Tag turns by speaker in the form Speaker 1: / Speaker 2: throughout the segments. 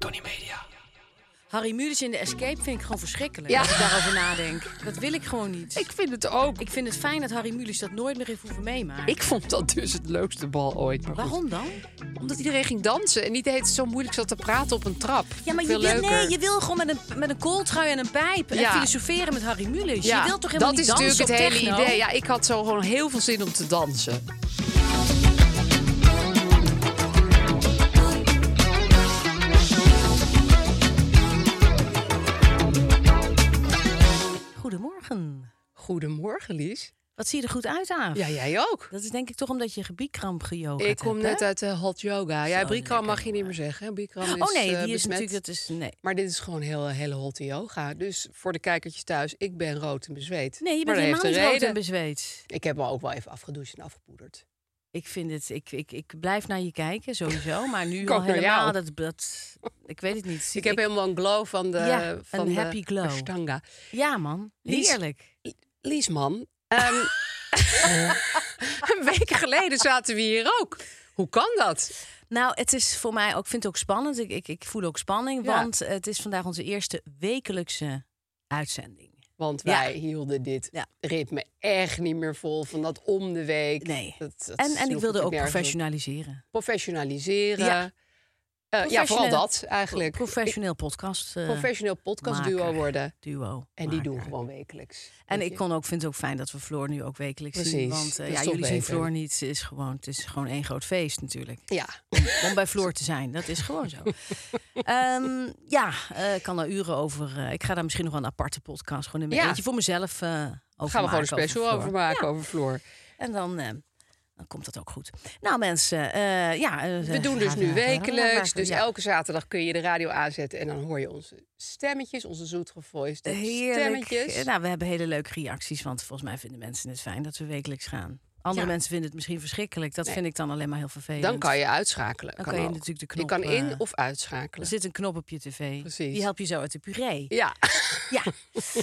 Speaker 1: Tony Media.
Speaker 2: Harry Mulisch in de Escape vind ik gewoon verschrikkelijk. Als ik daarover nadenk. Dat wil ik gewoon niet.
Speaker 1: Ik vind het ook.
Speaker 2: Ik vind het fijn dat Harry Mulisch dat nooit meer heeft hoeven meemaken.
Speaker 1: Ik vond dat dus het leukste bal ooit. Maar goed.
Speaker 2: Waarom dan?
Speaker 1: Omdat iedereen ging dansen en niet heet het zo moeilijk zat te praten op een trap.
Speaker 2: Ja, maar
Speaker 1: Veel
Speaker 2: je wil,
Speaker 1: leuker.
Speaker 2: nee, je wil gewoon met een, met een kooltrui en een pijp en
Speaker 1: Ja.
Speaker 2: filosoferen met Harry Mulisch.
Speaker 1: Ja,
Speaker 2: je wilt toch helemaal
Speaker 1: dat
Speaker 2: niet
Speaker 1: is
Speaker 2: dansen
Speaker 1: natuurlijk het hele
Speaker 2: op techno?
Speaker 1: idee. Ja, ik had zo gewoon heel veel zin om te dansen.
Speaker 2: Goedemorgen.
Speaker 1: Goedemorgen, Lies.
Speaker 2: Wat zie je er goed uit, Aaf?
Speaker 1: Ja, jij ook.
Speaker 2: Dat is denk ik toch omdat je gebiedkramp gejoga
Speaker 1: Ik kom net uit de hot yoga. Ja,
Speaker 2: Zo
Speaker 1: Bikram mag
Speaker 2: lekker,
Speaker 1: je niet meer
Speaker 2: hoor.
Speaker 1: zeggen. hè. Bikram is
Speaker 2: Oh nee,
Speaker 1: eh,
Speaker 2: die is
Speaker 1: besmet.
Speaker 2: natuurlijk... Dat is, nee.
Speaker 1: Maar dit is gewoon heel, eh, hele hot yoga. Dus voor de kijkertjes thuis, ik ben rood en bezweet.
Speaker 2: nee, je
Speaker 1: Maar
Speaker 2: bent
Speaker 1: dat heeft
Speaker 2: helemaal
Speaker 1: een
Speaker 2: niet rood
Speaker 1: reden.
Speaker 2: en bezweet.
Speaker 1: Ik heb me ook wel even afgedoucht en afgepoederd.
Speaker 2: Ik vind het, ik, ik, ik blijf naar je kijken sowieso, maar nu
Speaker 1: Ik
Speaker 2: al
Speaker 1: ook naar jou.
Speaker 2: helemaal dat, dat, Dus ik weet het niet.
Speaker 1: Ik heb helemaal een glow van de
Speaker 2: Ja, een
Speaker 1: van de
Speaker 2: happy glow.
Speaker 1: Ashtanga.
Speaker 2: Ja man,
Speaker 1: Lies-
Speaker 2: heerlijk.
Speaker 1: Lies, man. ehm, een week geleden zaten we hier ook. Hoe kan dat?
Speaker 2: Nou, het is voor mij ook, ik vind het ook spannend. Ik, ik, ik voel ook spanning,
Speaker 1: Ja.
Speaker 2: want het is vandaag onze eerste wekelijkse uitzending.
Speaker 1: Want
Speaker 2: Ja.
Speaker 1: wij hielden dit
Speaker 2: Ja.
Speaker 1: ritme echt niet meer vol van dat om de week.
Speaker 2: Nee.
Speaker 1: Dat, dat
Speaker 2: en en ik
Speaker 1: sloeg
Speaker 2: wilde ook
Speaker 1: nergens op.
Speaker 2: professionaliseren.
Speaker 1: professionaliseren.
Speaker 2: Ja.
Speaker 1: Eh, Ja. vooral
Speaker 2: Professioneel-
Speaker 1: dat eigenlijk.
Speaker 2: Professioneel podcast. eh,
Speaker 1: Ik- professioneel podcastduo
Speaker 2: maker.
Speaker 1: worden.
Speaker 2: Duo.
Speaker 1: En die doen
Speaker 2: maker.
Speaker 1: gewoon wekelijks.
Speaker 2: En
Speaker 1: Weet
Speaker 2: ik
Speaker 1: je.
Speaker 2: kon ook, vind het ook fijn dat we Floor nu ook wekelijks zien.
Speaker 1: Precies,
Speaker 2: Want eh,
Speaker 1: dat is
Speaker 2: ja,
Speaker 1: toch
Speaker 2: jullie zien
Speaker 1: beter.
Speaker 2: Floor niet. Ze Is gewoon, het is gewoon één groot feest natuurlijk.
Speaker 1: Ja,
Speaker 2: om bij Floor te zijn. Dat is gewoon zo. Ehm, ja, eh, ik kan daar uren over. eh, ik ga daar misschien nog wel een aparte podcast. Gewoon in mijn
Speaker 1: Ja.
Speaker 2: eentje voor mezelf eh over
Speaker 1: gaan we
Speaker 2: maken,
Speaker 1: gewoon een special
Speaker 2: Floor.
Speaker 1: over, maken,
Speaker 2: Ja,
Speaker 1: over Floor.
Speaker 2: En dan, eh, dan komt dat ook goed. Nou mensen, eh, ja. eh,
Speaker 1: We doen dus
Speaker 2: gaan
Speaker 1: nu wekelijks. Dus
Speaker 2: ja.
Speaker 1: elke zaterdag kun je de radio aanzetten. En dan hoor je onze stemmetjes, onze zoetgevoiste
Speaker 2: Heerlijk.
Speaker 1: stemmetjes.
Speaker 2: Eh, Nou, we hebben hele leuke reacties. Want volgens mij vinden mensen het fijn dat we wekelijks gaan. Andere
Speaker 1: Ja.
Speaker 2: mensen vinden het misschien verschrikkelijk. Dat
Speaker 1: Nee.
Speaker 2: vind ik dan alleen maar heel vervelend.
Speaker 1: dan kan je uitschakelen.
Speaker 2: Dan kan je
Speaker 1: ook.
Speaker 2: natuurlijk de
Speaker 1: Je
Speaker 2: knop,
Speaker 1: kan in
Speaker 2: eh,
Speaker 1: of
Speaker 2: Er
Speaker 1: uitschakelen.
Speaker 2: zit een knop op je tv.
Speaker 1: Precies.
Speaker 2: Die help je zo uit de puree.
Speaker 1: Ja,
Speaker 2: Ja,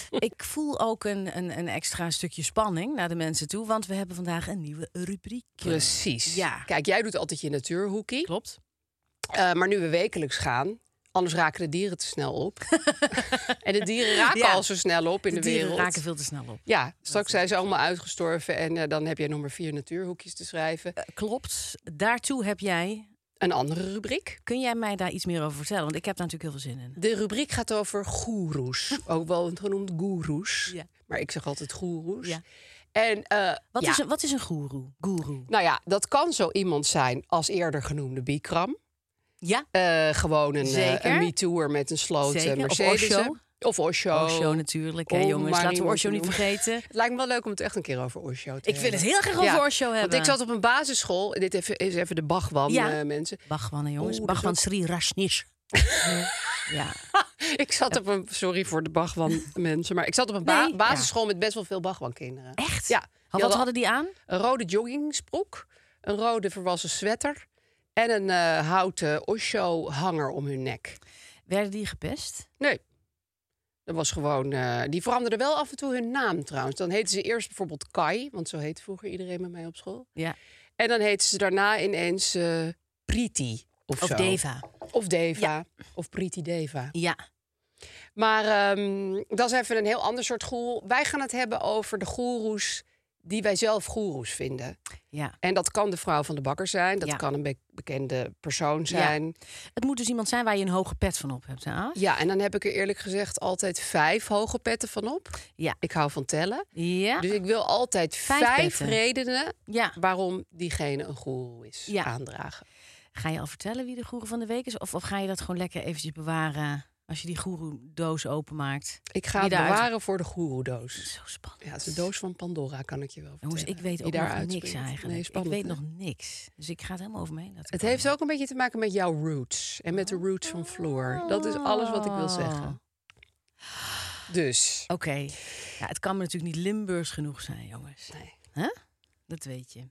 Speaker 2: ik voel ook een, een, een extra stukje spanning naar de mensen toe, want we hebben vandaag een nieuwe rubriek.
Speaker 1: precies.
Speaker 2: Ja.
Speaker 1: Kijk, jij doet altijd je natuurhoekie.
Speaker 2: Klopt.
Speaker 1: Eh, maar nu we wekelijks gaan, anders raken de dieren te snel op. en de dieren raken
Speaker 2: Ja.
Speaker 1: al zo snel op in de,
Speaker 2: de dieren
Speaker 1: wereld.
Speaker 2: raken veel te snel op.
Speaker 1: Ja, straks zijn ze allemaal uitgestorven en eh, dan heb jij nog maar vier natuurhoekjes te schrijven.
Speaker 2: Eh, Klopt. Daartoe heb jij.
Speaker 1: Een andere rubriek.
Speaker 2: Kun jij mij daar iets meer over vertellen? Want ik heb daar natuurlijk heel veel zin in.
Speaker 1: De rubriek gaat over goeroes. Ook wel genoemd goeroes.
Speaker 2: Ja.
Speaker 1: Maar ik zeg altijd goeroes.
Speaker 2: Ja.
Speaker 1: En eh,
Speaker 2: Wat,
Speaker 1: ja,
Speaker 2: is, een, wat is een goeroe? Goeroe.
Speaker 1: nou ja, dat kan zo iemand zijn als eerder genoemde Bikram.
Speaker 2: Ja,
Speaker 1: Eh, gewoon een, eh,
Speaker 2: Zeker.
Speaker 1: een me-tour met een sloot eh,
Speaker 2: Zeker. Of
Speaker 1: Mercedes.
Speaker 2: Osho.
Speaker 1: Of Osho.
Speaker 2: Oh, Osho natuurlijk. Hè,
Speaker 1: om
Speaker 2: jongens,
Speaker 1: Oh. maar
Speaker 2: laten we
Speaker 1: iemand
Speaker 2: Osho
Speaker 1: te
Speaker 2: niet
Speaker 1: noemen.
Speaker 2: vergeten.
Speaker 1: Het lijkt me wel leuk om het echt een keer over Osho te hebben.
Speaker 2: Ik vind het heel graag over Osho hebben.
Speaker 1: Want ik zat op een basisschool. Dit even- is even de Bachwan,
Speaker 2: Ja.
Speaker 1: eh, mensen.
Speaker 2: Bhagwan, hè, jongens.
Speaker 1: Oeh, Oh, dat is
Speaker 2: Bhagwan
Speaker 1: ook-
Speaker 2: Sri Rajneesh. ja.
Speaker 1: Ik zat op een, sorry voor de Bachwan, mensen. Maar ik zat op een ba-
Speaker 2: Nee,
Speaker 1: basisschool met best wel veel Bachwan kinderen.
Speaker 2: Echt?
Speaker 1: Ja.
Speaker 2: Wat
Speaker 1: hadden-
Speaker 2: hadden die aan?
Speaker 1: Een rode joggingsbroek, een rode verwassen sweater... en een eh, houten Osho-hanger om hun nek.
Speaker 2: Werden die gepest?
Speaker 1: Nee. Dat was gewoon... eh, die veranderden wel af en toe hun naam trouwens. Dan heten ze eerst bijvoorbeeld Kai, want zo heette vroeger iedereen bij mij op school.
Speaker 2: Ja.
Speaker 1: En dan heten ze daarna ineens eh, Priti of,
Speaker 2: Of
Speaker 1: zo.
Speaker 2: Deva?
Speaker 1: Of Deva. Of Priti Deva.
Speaker 2: Ja.
Speaker 1: Maar ehm, dat is even een heel ander soort goeroe. Wij gaan het hebben over de goeroes die wij zelf goeroes vinden.
Speaker 2: Ja.
Speaker 1: En dat kan de vrouw van de bakker zijn. Dat
Speaker 2: Ja.
Speaker 1: kan een be- bekende persoon zijn. Ja.
Speaker 2: Het moet dus iemand zijn waar je een hoge pet van op hebt, hè? Aaf?
Speaker 1: en dan heb ik er eerlijk gezegd altijd vijf hoge petten van op.
Speaker 2: Ja.
Speaker 1: Ik hou van tellen.
Speaker 2: Ja.
Speaker 1: Dus ik wil altijd
Speaker 2: Vijf
Speaker 1: vijf,
Speaker 2: petten.
Speaker 1: redenen
Speaker 2: ja.
Speaker 1: waarom diegene een goeroe is
Speaker 2: Ja.
Speaker 1: aandragen.
Speaker 2: Ga je al vertellen wie de goeroe van de week is? Of, of ga je dat gewoon lekker eventjes bewaren? Als je die goeroe-doos openmaakt.
Speaker 1: Ik ga
Speaker 2: Die
Speaker 1: het
Speaker 2: daaruit-
Speaker 1: bewaren voor de goeroe-doos.
Speaker 2: Zo spannend.
Speaker 1: Ja, het is de doos van Pandora, kan ik je wel vertellen.
Speaker 2: Jongens, ik weet
Speaker 1: die
Speaker 2: ook nog
Speaker 1: daaruit
Speaker 2: niks
Speaker 1: springt.
Speaker 2: eigenlijk.
Speaker 1: Nee, spannend,
Speaker 2: ik weet
Speaker 1: hè?
Speaker 2: nog niks. Dus ik ga het helemaal over me heen laten
Speaker 1: Het
Speaker 2: komen.
Speaker 1: heeft ook een beetje te maken met jouw roots. En met de roots van Floor. Dat is alles wat ik wil zeggen.
Speaker 2: Oh.
Speaker 1: Dus,
Speaker 2: Ah. Oké. Ja, het kan me natuurlijk niet Limburgs genoeg zijn, jongens.
Speaker 1: Nee.
Speaker 2: Hè? Dat weet je.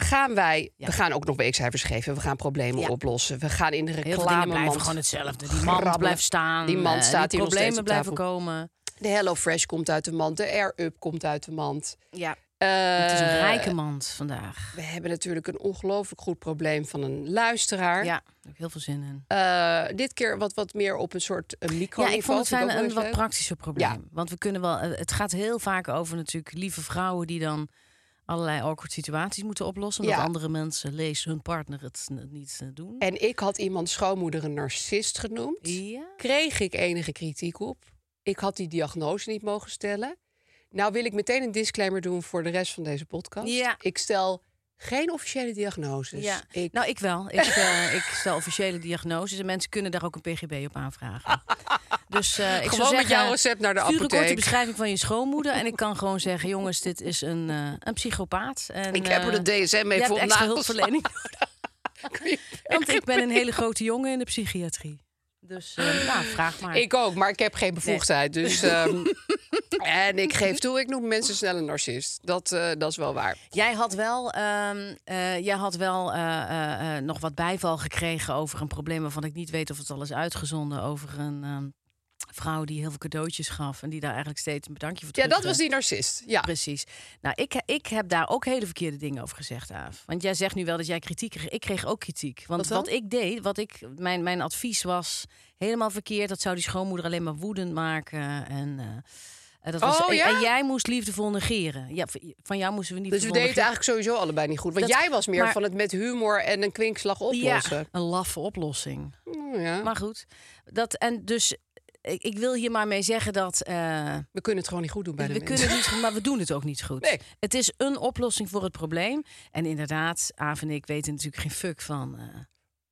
Speaker 1: gaan wij...
Speaker 2: Ja.
Speaker 1: We gaan ook nog weekcijfers geven. We gaan problemen
Speaker 2: Ja.
Speaker 1: oplossen. We gaan in de
Speaker 2: Heel veel dingen
Speaker 1: reclame.
Speaker 2: blijven gewoon hetzelfde. Die mand
Speaker 1: grabbelen.
Speaker 2: blijft staan.
Speaker 1: Die mand
Speaker 2: eh,
Speaker 1: staat hier nog steeds
Speaker 2: problemen
Speaker 1: op
Speaker 2: blijven
Speaker 1: tafel.
Speaker 2: komen.
Speaker 1: De Hello Fresh komt uit de mand. De Air Up komt uit de mand.
Speaker 2: Ja,
Speaker 1: Eh,
Speaker 2: het is een rijke mand vandaag.
Speaker 1: We hebben natuurlijk een ongelooflijk goed probleem van een luisteraar.
Speaker 2: Ja, daar heb ik heel veel zin in.
Speaker 1: Eh, dit keer wat, wat meer op een soort eh, micro
Speaker 2: Ja, ik vond het fijn een wat
Speaker 1: praktisch.
Speaker 2: praktischer probleem. Want we kunnen wel, eh, het gaat heel vaak over natuurlijk lieve vrouwen die dan allerlei awkward situaties moeten oplossen. Omdat
Speaker 1: Ja.
Speaker 2: andere mensen, lees hun partner, het n- niet eh, doen.
Speaker 1: En ik had iemand schoonmoeder een narcist genoemd.
Speaker 2: Ja.
Speaker 1: Kreeg ik enige kritiek op. Ik had die diagnose niet mogen stellen. Nou wil ik meteen een disclaimer doen voor de rest van deze podcast.
Speaker 2: Ja.
Speaker 1: Ik stel geen officiële diagnoses.
Speaker 2: ja.
Speaker 1: Ik,
Speaker 2: Nou, ik wel. Ik, eh, ik stel officiële diagnoses en mensen kunnen daar ook een PGB op aanvragen. Dus eh, ik
Speaker 1: Gewoon met
Speaker 2: zou zeggen,
Speaker 1: jouw recept naar de
Speaker 2: stuur een korte
Speaker 1: apotheek.
Speaker 2: beschrijving van je schoonmoeder en ik kan gewoon zeggen, jongens, dit is een, eh, een psychopaat. En,
Speaker 1: ik heb er
Speaker 2: eh,
Speaker 1: de DSM
Speaker 2: je
Speaker 1: mee
Speaker 2: hebt
Speaker 1: voor
Speaker 2: extra
Speaker 1: nagels.
Speaker 2: hulpverlening.
Speaker 1: Kun je
Speaker 2: Want ik ben een hele grote jongen in de psychiatrie. Dus eh, nou, vraag maar.
Speaker 1: Ah. Ik ook, maar ik heb geen bevoegdheid. Dus, ehm, en ik geef toe, ik noem mensen snel een narcist. Dat, eh, dat is wel waar.
Speaker 2: Jij had wel, ehm, eh, jij had wel eh, eh, eh, nog wat bijval gekregen over een probleem waarvan ik niet weet of het al is uitgezonden. Over een ehm, vrouw die heel veel cadeautjes gaf en die daar eigenlijk steeds een bedankje voor
Speaker 1: Ja, dat
Speaker 2: terug,
Speaker 1: was
Speaker 2: eh,
Speaker 1: die narcist. Ja.
Speaker 2: Precies. Nou, ik, ik heb daar ook hele verkeerde dingen over gezegd, Aaf. Want jij zegt nu wel dat jij kritiek kreeg. Ik kreeg ook kritiek. Want
Speaker 1: Wat dan?
Speaker 2: wat, ik deed, wat ik, mijn, mijn advies was helemaal verkeerd. Dat zou die schoonmoeder alleen maar woedend maken. En, eh, dat was,
Speaker 1: Oh,
Speaker 2: en-
Speaker 1: ja?
Speaker 2: en, jij moest liefdevol negeren. Ja, v- van jou moesten we niet
Speaker 1: Dus we deden het eigenlijk sowieso allebei niet goed. Want
Speaker 2: Dat-
Speaker 1: jij was meer
Speaker 2: maar-
Speaker 1: van het met humor en een kwinkslag
Speaker 2: Ja,
Speaker 1: oplossen.
Speaker 2: een laffe oplossing.
Speaker 1: Nou ja.
Speaker 2: Maar goed, dat, en dus ik, ik wil hier maar mee zeggen dat... eh,
Speaker 1: We kunnen het gewoon niet goed doen bij de
Speaker 2: we
Speaker 1: mensen.
Speaker 2: kunnen het niet, goed, maar we doen het ook niet goed.
Speaker 1: Nee.
Speaker 2: Het is een oplossing voor het probleem. En inderdaad, Aaf en ik weten natuurlijk geen fuck van eh,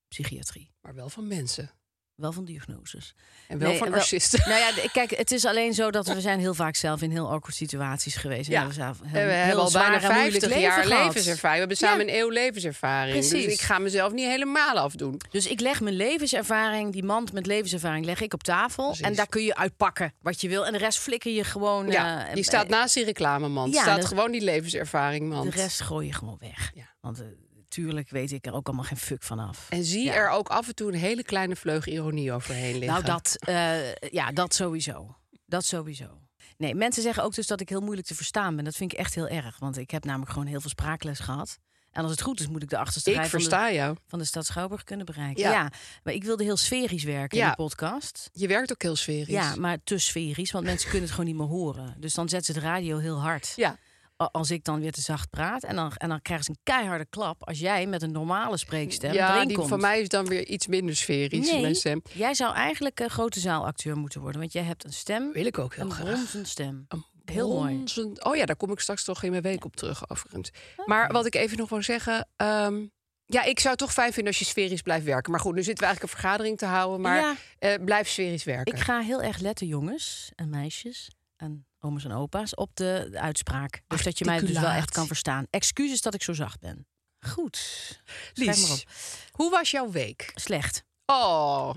Speaker 2: psychiatrie.
Speaker 1: Maar wel van mensen.
Speaker 2: Wel van diagnoses.
Speaker 1: En wel
Speaker 2: Nee,
Speaker 1: van
Speaker 2: wel-
Speaker 1: narcisten.
Speaker 2: Nou ja, d- kijk, het is alleen zo dat we zijn heel vaak zelf in heel awkward situaties geweest.
Speaker 1: Ja.
Speaker 2: we, zijn heel,
Speaker 1: En we
Speaker 2: heel
Speaker 1: hebben al
Speaker 2: zwaar
Speaker 1: bijna
Speaker 2: en moeilijk
Speaker 1: 50
Speaker 2: leven
Speaker 1: jaar
Speaker 2: gehad.
Speaker 1: levenservaring. We hebben samen een eeuw levenservaring. Dus
Speaker 2: Precies.
Speaker 1: ik ga mezelf niet helemaal afdoen.
Speaker 2: Dus ik leg mijn levenservaring, die mand met levenservaring, leg ik op tafel.
Speaker 1: Precies.
Speaker 2: En daar kun je uitpakken wat je wil. En de rest flikker je gewoon.
Speaker 1: ja,
Speaker 2: eh,
Speaker 1: die staat naast die reclamemand.
Speaker 2: ja,
Speaker 1: staat
Speaker 2: dat-
Speaker 1: gewoon die levenservaring, man.
Speaker 2: De rest gooi je gewoon weg.
Speaker 1: Ja.
Speaker 2: Want natuurlijk tuurlijk weet ik er ook allemaal geen fuck van af.
Speaker 1: En zie
Speaker 2: Ja.
Speaker 1: er ook af en toe een hele kleine vleug ironie overheen liggen.
Speaker 2: Nou, dat, eh, ja, dat sowieso. Dat sowieso. Nee, mensen zeggen ook dus dat ik heel moeilijk te verstaan ben. Dat vind ik echt heel erg. Want ik heb namelijk gewoon heel veel spraakles gehad. En als het goed is, moet ik de achterste
Speaker 1: Ik
Speaker 2: rij van de,
Speaker 1: versta jou.
Speaker 2: van de stad Schouwburg kunnen bereiken.
Speaker 1: Ja.
Speaker 2: Ja. maar ik wilde heel sferisch werken
Speaker 1: Ja.
Speaker 2: in de podcast.
Speaker 1: Je werkt ook heel sferisch.
Speaker 2: Ja, maar te sferisch, want mensen kunnen het gewoon niet meer horen. Dus dan zetten ze de radio heel hard.
Speaker 1: Ja.
Speaker 2: A- Als ik dan weer te zacht praat. En dan, en dan krijgen ze een keiharde klap als jij met een normale spreekstem
Speaker 1: ja
Speaker 2: erin
Speaker 1: die
Speaker 2: komt.
Speaker 1: van mij is dan weer iets minder sferisch.
Speaker 2: Nee,
Speaker 1: Mijn stem.
Speaker 2: Jij zou eigenlijk een grote zaalacteur moeten worden, want jij hebt een stem,
Speaker 1: Wil ik ook heel
Speaker 2: een
Speaker 1: graag.
Speaker 2: bronzen stem.
Speaker 1: Een
Speaker 2: Heel mooi.
Speaker 1: bronzen- Oh ja, daar kom ik straks toch in mijn week op terug, overigens.
Speaker 2: Ah.
Speaker 1: Maar wat ik even nog wil zeggen. ehm, ja, ik zou het toch fijn vinden als je sferisch blijft werken. Maar goed, nu zitten we eigenlijk een vergadering te houden. Maar
Speaker 2: Ja.
Speaker 1: eh, blijf sferisch werken.
Speaker 2: Ik ga heel erg letten, jongens en meisjes en omers en opa's, op de, de uitspraak. Dus dat je mij dus wel echt kan
Speaker 1: Articulatie.
Speaker 2: verstaan. Excuses dat ik zo zacht ben. Goed. Schrijf
Speaker 1: Lies.
Speaker 2: maar op.
Speaker 1: Hoe was jouw week?
Speaker 2: Slecht.
Speaker 1: Oh,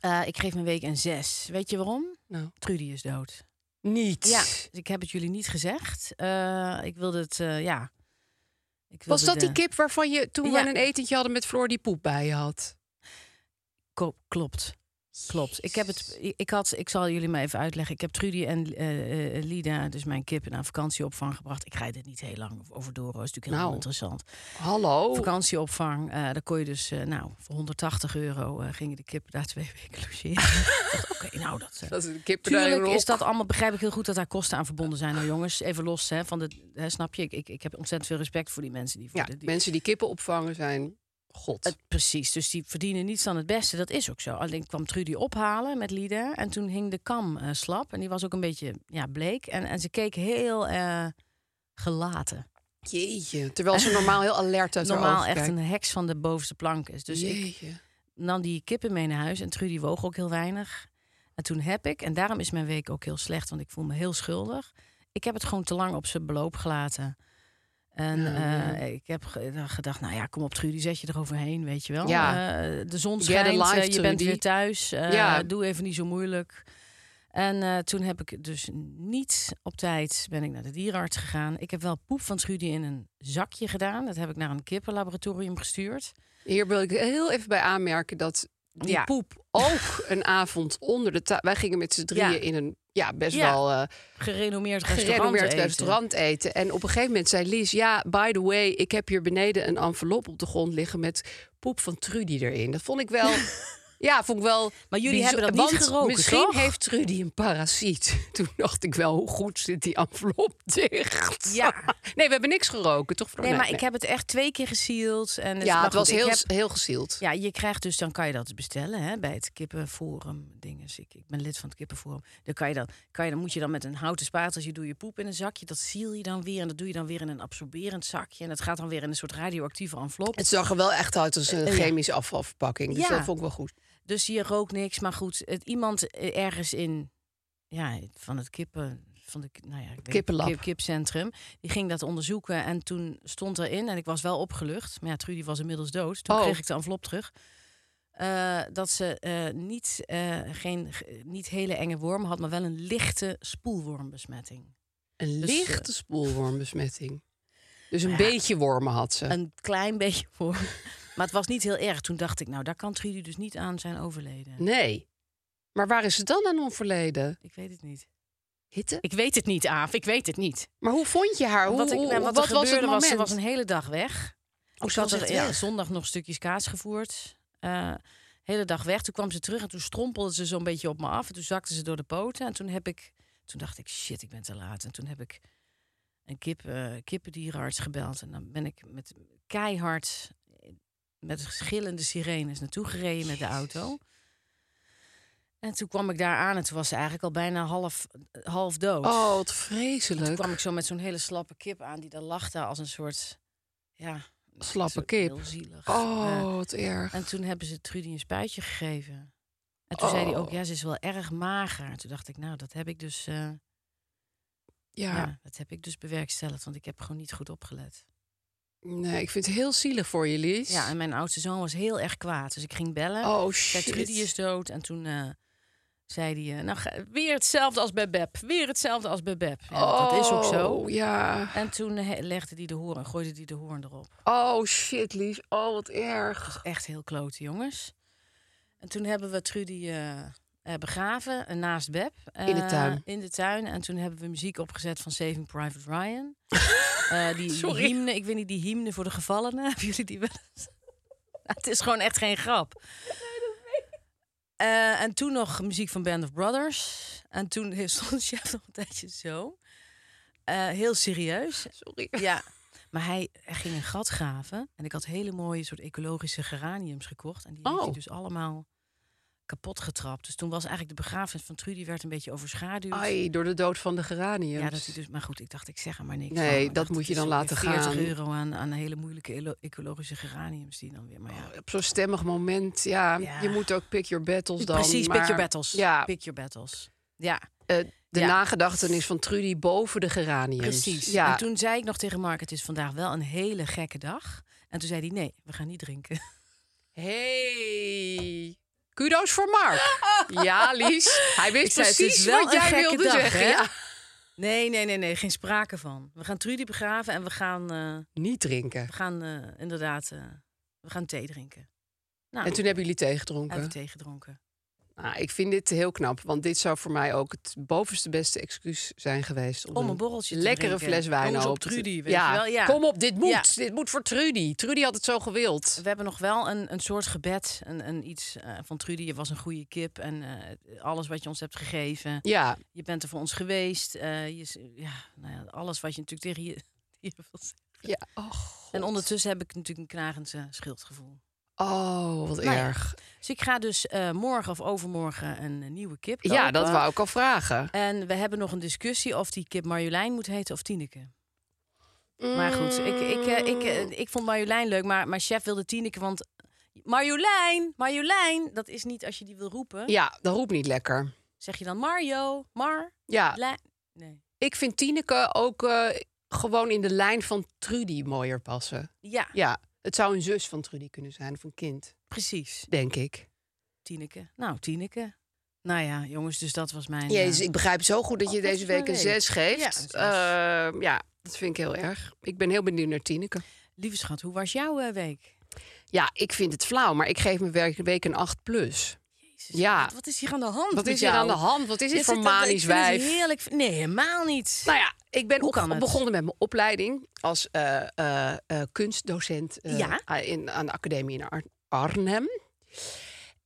Speaker 2: Eh, ik geef mijn week een zes. Weet je waarom?
Speaker 1: nou,
Speaker 2: Trudy is dood.
Speaker 1: niet.
Speaker 2: Ja, dus ik heb het jullie niet gezegd. Eh, ik wilde het, eh, ja. Ik
Speaker 1: Was
Speaker 2: wilde
Speaker 1: dat
Speaker 2: de-
Speaker 1: die kip waarvan je toen we
Speaker 2: Ja.
Speaker 1: een etentje hadden met Floor die poep bij je had?
Speaker 2: Ko- klopt. Klopt. Ik, heb het, ik, had, ik zal jullie maar even uitleggen. Ik heb Trudy en eh, eh, Lida, dus mijn kippen, naar vakantieopvang gebracht. Ik rijd dit niet heel lang over door. hoor. is natuurlijk heel
Speaker 1: Nou. Oh.
Speaker 2: interessant.
Speaker 1: Hallo.
Speaker 2: Vakantieopvang, eh, daar kon je dus, eh, nou, voor 180 euro eh, gingen de kippen daar twee weken logeren. Ik dacht, Oké, nou, dat... eh,
Speaker 1: Dat is een kip
Speaker 2: Tuurlijk is dat allemaal, begrijp ik heel goed dat daar kosten aan verbonden zijn. Nou jongens, even los hè, van de, hè, snap je? Ik, ik, ik heb ontzettend veel respect voor die mensen die voor
Speaker 1: Ja,
Speaker 2: de, die-
Speaker 1: mensen die kippen opvangen zijn god.
Speaker 2: het- precies, dus die verdienen niets dan het beste. Dat is ook zo. Alleen kwam Trudy ophalen met Lida. En toen hing de kam eh, slap. En die was ook een beetje ja, bleek. En, en ze keek heel eh, gelaten.
Speaker 1: Jeetje. Terwijl ze normaal heel alert uit haar
Speaker 2: Normaal
Speaker 1: ogen
Speaker 2: echt
Speaker 1: kijkt.
Speaker 2: een heks van de bovenste plank is. Dus ik
Speaker 1: Jeetje.
Speaker 2: nam die kippen mee naar huis. En Trudy woog ook heel weinig. En toen heb ik, en daarom is mijn week ook heel slecht, want ik voel me heel schuldig. Ik heb het gewoon te lang op zijn beloop gelaten. En eh, ik heb ge- dan gedacht, nou ja, kom op Trudy, zet je eroverheen, weet je wel.
Speaker 1: Ja.
Speaker 2: Eh, de zon
Speaker 1: Get a
Speaker 2: schijnt,
Speaker 1: life,
Speaker 2: eh, je bent
Speaker 1: Trudy.
Speaker 2: weer thuis. eh,
Speaker 1: Ja.
Speaker 2: Doe even niet zo moeilijk. En eh, toen heb ik dus niet op tijd ben ik naar de dierenarts gegaan. Ik heb wel poep van Trudy in een zakje gedaan. Dat heb ik naar een kippenlaboratorium gestuurd.
Speaker 1: Hier wil ik heel even bij aanmerken dat die
Speaker 2: Ja.
Speaker 1: poep ook een avond onder de tafel... Wij gingen met z'n drieën
Speaker 2: Ja.
Speaker 1: in een ja, best
Speaker 2: Ja.
Speaker 1: wel eh
Speaker 2: Gerenommeerd restaurant
Speaker 1: gerenommeerd
Speaker 2: eten.
Speaker 1: restaurant eten. En op een gegeven moment zei Lies... Ja, by the way, ik heb hier beneden een envelop op de grond liggen... met poep van Trudy erin. Dat vond ik wel... Ja, vond ik wel.
Speaker 2: Maar jullie
Speaker 1: bijzo-
Speaker 2: hebben dat niet
Speaker 1: want
Speaker 2: geroken,
Speaker 1: Misschien
Speaker 2: toch?
Speaker 1: heeft Trudy een parasiet. Toen dacht ik wel, hoe goed zit die envelop dicht?
Speaker 2: Ja.
Speaker 1: Nee, we hebben niks geroken, toch?
Speaker 2: Nee, maar ik heb het echt twee keer gesealed. En dus
Speaker 1: Ja,
Speaker 2: maar
Speaker 1: het was
Speaker 2: goed, ik
Speaker 1: heel,
Speaker 2: heb-
Speaker 1: heel gezield.
Speaker 2: Ja, je krijgt dus, dan kan je dat bestellen hè, bij het kippenforum. Dinges. Ik, ik ben lid van het kippenforum. Dan, kan je dat, kan je, dan moet je dan met een houten spateltje doe je poep in een zakje. Dat seal je dan weer en dat doe je dan weer in een absorberend zakje. En dat gaat dan weer in een soort radioactieve envelop.
Speaker 1: Het zag er wel echt uit als een chemische afvalverpakking. Dus
Speaker 2: Eh, Ja.
Speaker 1: dat vond ik wel goed.
Speaker 2: Dus je rookt niks. Maar goed, het, iemand eh, ergens in ja, van het kippen. Van de, nou ja, ik weet-
Speaker 1: Kippenlab.
Speaker 2: kip- kipcentrum. Die ging dat onderzoeken. En toen stond erin, en ik was wel opgelucht. Maar ja, Trudy was inmiddels dood. Toen
Speaker 1: Oh.
Speaker 2: kreeg ik de envelop terug. eh, dat ze eh, niet, eh, geen, ge- niet hele enge worm had, maar wel een lichte spoelwormbesmetting.
Speaker 1: Een
Speaker 2: Dus, eh,
Speaker 1: lichte spoelwormbesmetting. Dus een
Speaker 2: ja.
Speaker 1: beetje wormen had ze.
Speaker 2: Een klein beetje worm. maar het was niet heel erg. Toen dacht ik, nou, daar kan Trudy dus niet aan zijn overleden.
Speaker 1: Nee. Maar waar is ze dan aan onverleden?
Speaker 2: Ik weet het niet.
Speaker 1: Hitte?
Speaker 2: Ik weet het niet, Aaf. Ik weet het niet.
Speaker 1: Maar hoe vond je haar? Hoe,
Speaker 2: wat ik,
Speaker 1: hoe-
Speaker 2: nou, wat,
Speaker 1: wat
Speaker 2: er
Speaker 1: was het
Speaker 2: gebeurde was,
Speaker 1: moment?
Speaker 2: ze was een hele dag weg.
Speaker 1: Oh,
Speaker 2: ik
Speaker 1: ze
Speaker 2: had
Speaker 1: was
Speaker 2: er
Speaker 1: echt
Speaker 2: ja,
Speaker 1: weg.
Speaker 2: zondag nog stukjes kaas gevoerd. Eh hele dag weg. Toen kwam ze terug en toen strompelde ze zo'n beetje op me af. En toen zakte ze door de poten. En toen heb ik, toen dacht ik, shit, ik ben te laat. En toen heb ik een kip, eh, kippendierenarts gebeld. En dan ben ik met keihard, met gillende sirenes naartoe gereden met de auto. En toen kwam ik daar aan en toen was ze eigenlijk al bijna half, half dood.
Speaker 1: Oh, wat
Speaker 2: Toen
Speaker 1: vreselijk.
Speaker 2: kwam ik zo met zo'n hele slappe kip aan die daar lachte als een soort ja,
Speaker 1: Slappe
Speaker 2: soort
Speaker 1: kip.
Speaker 2: Heel zielig. Eh,
Speaker 1: Oh, wat erg.
Speaker 2: en toen hebben ze Trudy een spuitje gegeven. En toen zei hij
Speaker 1: Oh.
Speaker 2: ook, ja, ze is wel erg mager. En toen dacht ik, nou, dat heb ik dus, eh, ja.
Speaker 1: Ja,
Speaker 2: dat heb ik dus bewerkstelligd, want ik heb gewoon niet goed opgelet.
Speaker 1: nee, ik vind het heel zielig voor je, Lies.
Speaker 2: Ja, en mijn oudste zoon was heel erg kwaad, dus ik ging bellen.
Speaker 1: oh,
Speaker 2: Kijk,
Speaker 1: shit.
Speaker 2: Trudy is dood. En toen eh, zei hij, eh, nou, ga- weer hetzelfde als bij Beb. Weer hetzelfde als bij Beb. Ja, Dat is ook zo.
Speaker 1: Oh, ja.
Speaker 2: En toen eh, legde hij de hoorn, gooide hij de hoorn erop.
Speaker 1: Oh, shit, Lies. Oh, wat erg.
Speaker 2: was echt heel klote, jongens. En toen hebben we Trudy eh, eh, begraven eh, naast Beb.
Speaker 1: In de
Speaker 2: Eh,
Speaker 1: tuin.
Speaker 2: In de tuin. En toen hebben we muziek opgezet van Saving Private Ryan. Eh, die, die
Speaker 1: Sorry.
Speaker 2: hymne, ik weet niet, die hymne voor de gevallenen. Hebben jullie die wel eens? Het is gewoon echt geen grap. Eh, en toen nog muziek van Band of Brothers. En toen he- stond Chef nog een tijdje zo. Eh, heel serieus.
Speaker 1: Sorry.
Speaker 2: Ja. Maar hij hij ging een gat graven. En ik had hele mooie soort ecologische geraniums gekocht. En die heeft hij
Speaker 1: Oh.
Speaker 2: dus allemaal kapot getrapt. Dus toen was eigenlijk de begrafenis van Trudy werd een beetje overschaduwd.
Speaker 1: Ai, door de dood van de geraniums.
Speaker 2: Ja, dat hij dus, maar goed, ik dacht, ik zeg er maar niks.
Speaker 1: Nee,
Speaker 2: van. Ik
Speaker 1: dat
Speaker 2: dacht,
Speaker 1: moet
Speaker 2: het
Speaker 1: je
Speaker 2: is
Speaker 1: dan
Speaker 2: ook weer
Speaker 1: laten
Speaker 2: 40
Speaker 1: gaan.
Speaker 2: euro aan, aan hele moeilijke elo- ecologische geraniums die dan weer. Maar ja,
Speaker 1: Op zo'n stemmig moment, ja.
Speaker 2: Ja.
Speaker 1: Je moet ook pick your battles dan.
Speaker 2: Dus precies,
Speaker 1: maar-
Speaker 2: pick your battles.
Speaker 1: Ja,
Speaker 2: Pick your battles. Ja,
Speaker 1: eh, de
Speaker 2: Ja.
Speaker 1: nagedachtenis van Trudy boven de geraniums.
Speaker 2: precies.
Speaker 1: Ja.
Speaker 2: En toen zei ik nog tegen Mark, het is vandaag wel een hele gekke dag. En toen zei hij, nee, we gaan niet drinken.
Speaker 1: Hey. Kudo's voor Mark. ja, Lies. Hij wist
Speaker 2: Ik zei, het is
Speaker 1: precies
Speaker 2: wel
Speaker 1: wat
Speaker 2: een
Speaker 1: jij
Speaker 2: gekke
Speaker 1: wilde
Speaker 2: dag,
Speaker 1: zeggen.
Speaker 2: hè?
Speaker 1: Ja.
Speaker 2: Nee, nee, nee, nee, geen sprake van. We gaan Trudy begraven en we gaan, eh,
Speaker 1: Niet drinken.
Speaker 2: we gaan eh, inderdaad eh, we gaan thee drinken. Nou,
Speaker 1: En toen hebben jullie thee gedronken.
Speaker 2: hebben we thee gedronken.
Speaker 1: Nou, ik vind dit heel knap, want dit zou voor mij ook het bovenste beste excuus zijn geweest.
Speaker 2: Om een borreltje te
Speaker 1: Lekkere
Speaker 2: drinken.
Speaker 1: fles wijn
Speaker 2: Kom eens op
Speaker 1: open te-
Speaker 2: Trudy, weet
Speaker 1: ja.
Speaker 2: je wel, ja.
Speaker 1: Kom op, dit moet.
Speaker 2: Ja.
Speaker 1: Dit moet voor Trudy. Trudy had het zo gewild.
Speaker 2: We hebben nog wel een, een soort gebed, een, een iets eh, van Trudy, je was een goede kip en eh, alles wat je ons hebt gegeven,
Speaker 1: Ja,
Speaker 2: je bent er voor ons geweest, eh, je, is- ja, nou ja, alles wat je natuurlijk tegen je dieren wil zeggen.
Speaker 1: ja. Oh, God.
Speaker 2: En ondertussen heb ik natuurlijk een knagend eh, schuldgevoel.
Speaker 1: Oh, wat
Speaker 2: Nou ja.
Speaker 1: erg.
Speaker 2: Dus ik ga dus eh, morgen of overmorgen een eh, nieuwe kip
Speaker 1: Ja,
Speaker 2: kopen.
Speaker 1: dat wou ik al vragen.
Speaker 2: En we hebben nog een discussie of die kip Marjolein moet heten of Tineke. Maar goed, ik, ik,
Speaker 1: Mm.
Speaker 2: eh, ik, eh, ik vond Marjolein leuk, maar mijn chef wilde Tineke, want Marjolein, Marjolein, dat is niet als je die wil roepen.
Speaker 1: Ja, dat roept niet lekker.
Speaker 2: Zeg je dan Mario, Mar?
Speaker 1: Ja,
Speaker 2: Lij- nee.
Speaker 1: ik vind Tineke ook eh, gewoon in de lijn van Trudy mooier passen.
Speaker 2: Ja,
Speaker 1: Ja, het zou een zus van Trudy kunnen zijn of een kind,
Speaker 2: precies.
Speaker 1: denk ik.
Speaker 2: Tineke. Nou, Tineke. Nou ja, jongens, dus dat was mijn...
Speaker 1: Jezus,
Speaker 2: eh,
Speaker 1: ik begrijp zo goed dat
Speaker 2: Oh,
Speaker 1: je
Speaker 2: dat
Speaker 1: deze
Speaker 2: is mijn
Speaker 1: week een
Speaker 2: week.
Speaker 1: zes
Speaker 2: Ja,
Speaker 1: geeft.
Speaker 2: zes.
Speaker 1: Ja, ja, dat vind ik heel erg. Ik ben heel benieuwd naar Tineke.
Speaker 2: Lieve schat, hoe was jouw eh, week?
Speaker 1: Ja, ik vind het flauw, maar ik geef mijn werk- week een 8 plus.
Speaker 2: Jezus,
Speaker 1: Ja.
Speaker 2: Wat, wat is hier aan de hand
Speaker 1: Wat
Speaker 2: met
Speaker 1: is hier
Speaker 2: jou?
Speaker 1: aan de hand? Wat is dit
Speaker 2: Dit
Speaker 1: voor manisch wijf?
Speaker 2: heerlijk. Nee, helemaal niet.
Speaker 1: Nou ja, ik ben
Speaker 2: Hoe kan
Speaker 1: opge-
Speaker 2: het?
Speaker 1: begonnen met mijn opleiding als eh, eh, eh, kunstdocent eh,
Speaker 2: Ja.
Speaker 1: a- in, aan de academie in Ar- Arnhem.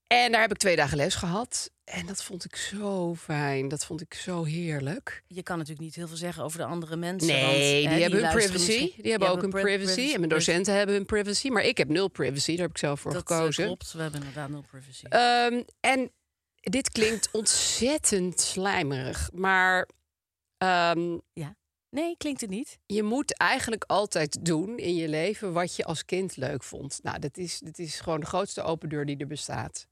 Speaker 1: En daar heb ik twee dagen les gehad. En dat vond ik zo fijn. Dat vond ik zo heerlijk.
Speaker 2: je kan natuurlijk niet heel veel zeggen over de andere mensen.
Speaker 1: Nee,
Speaker 2: want, hè,
Speaker 1: die, hebben hun
Speaker 2: luisteren
Speaker 1: privacy.
Speaker 2: misschien-
Speaker 1: Die hebben ook hun
Speaker 2: pri-
Speaker 1: privacy. En mijn docenten hebben hun privacy. Maar ik heb nul privacy. Daar heb ik zelf voor
Speaker 2: Dat eh,
Speaker 1: gekozen.
Speaker 2: klopt, we hebben inderdaad nul privacy.
Speaker 1: Ehm, en dit klinkt ontzettend slijmerig. Maar ehm,
Speaker 2: nee, klinkt het niet.
Speaker 1: je moet eigenlijk altijd doen in je leven wat je als kind leuk vond. Nou, dat is, dat is gewoon de grootste open deur die er bestaat.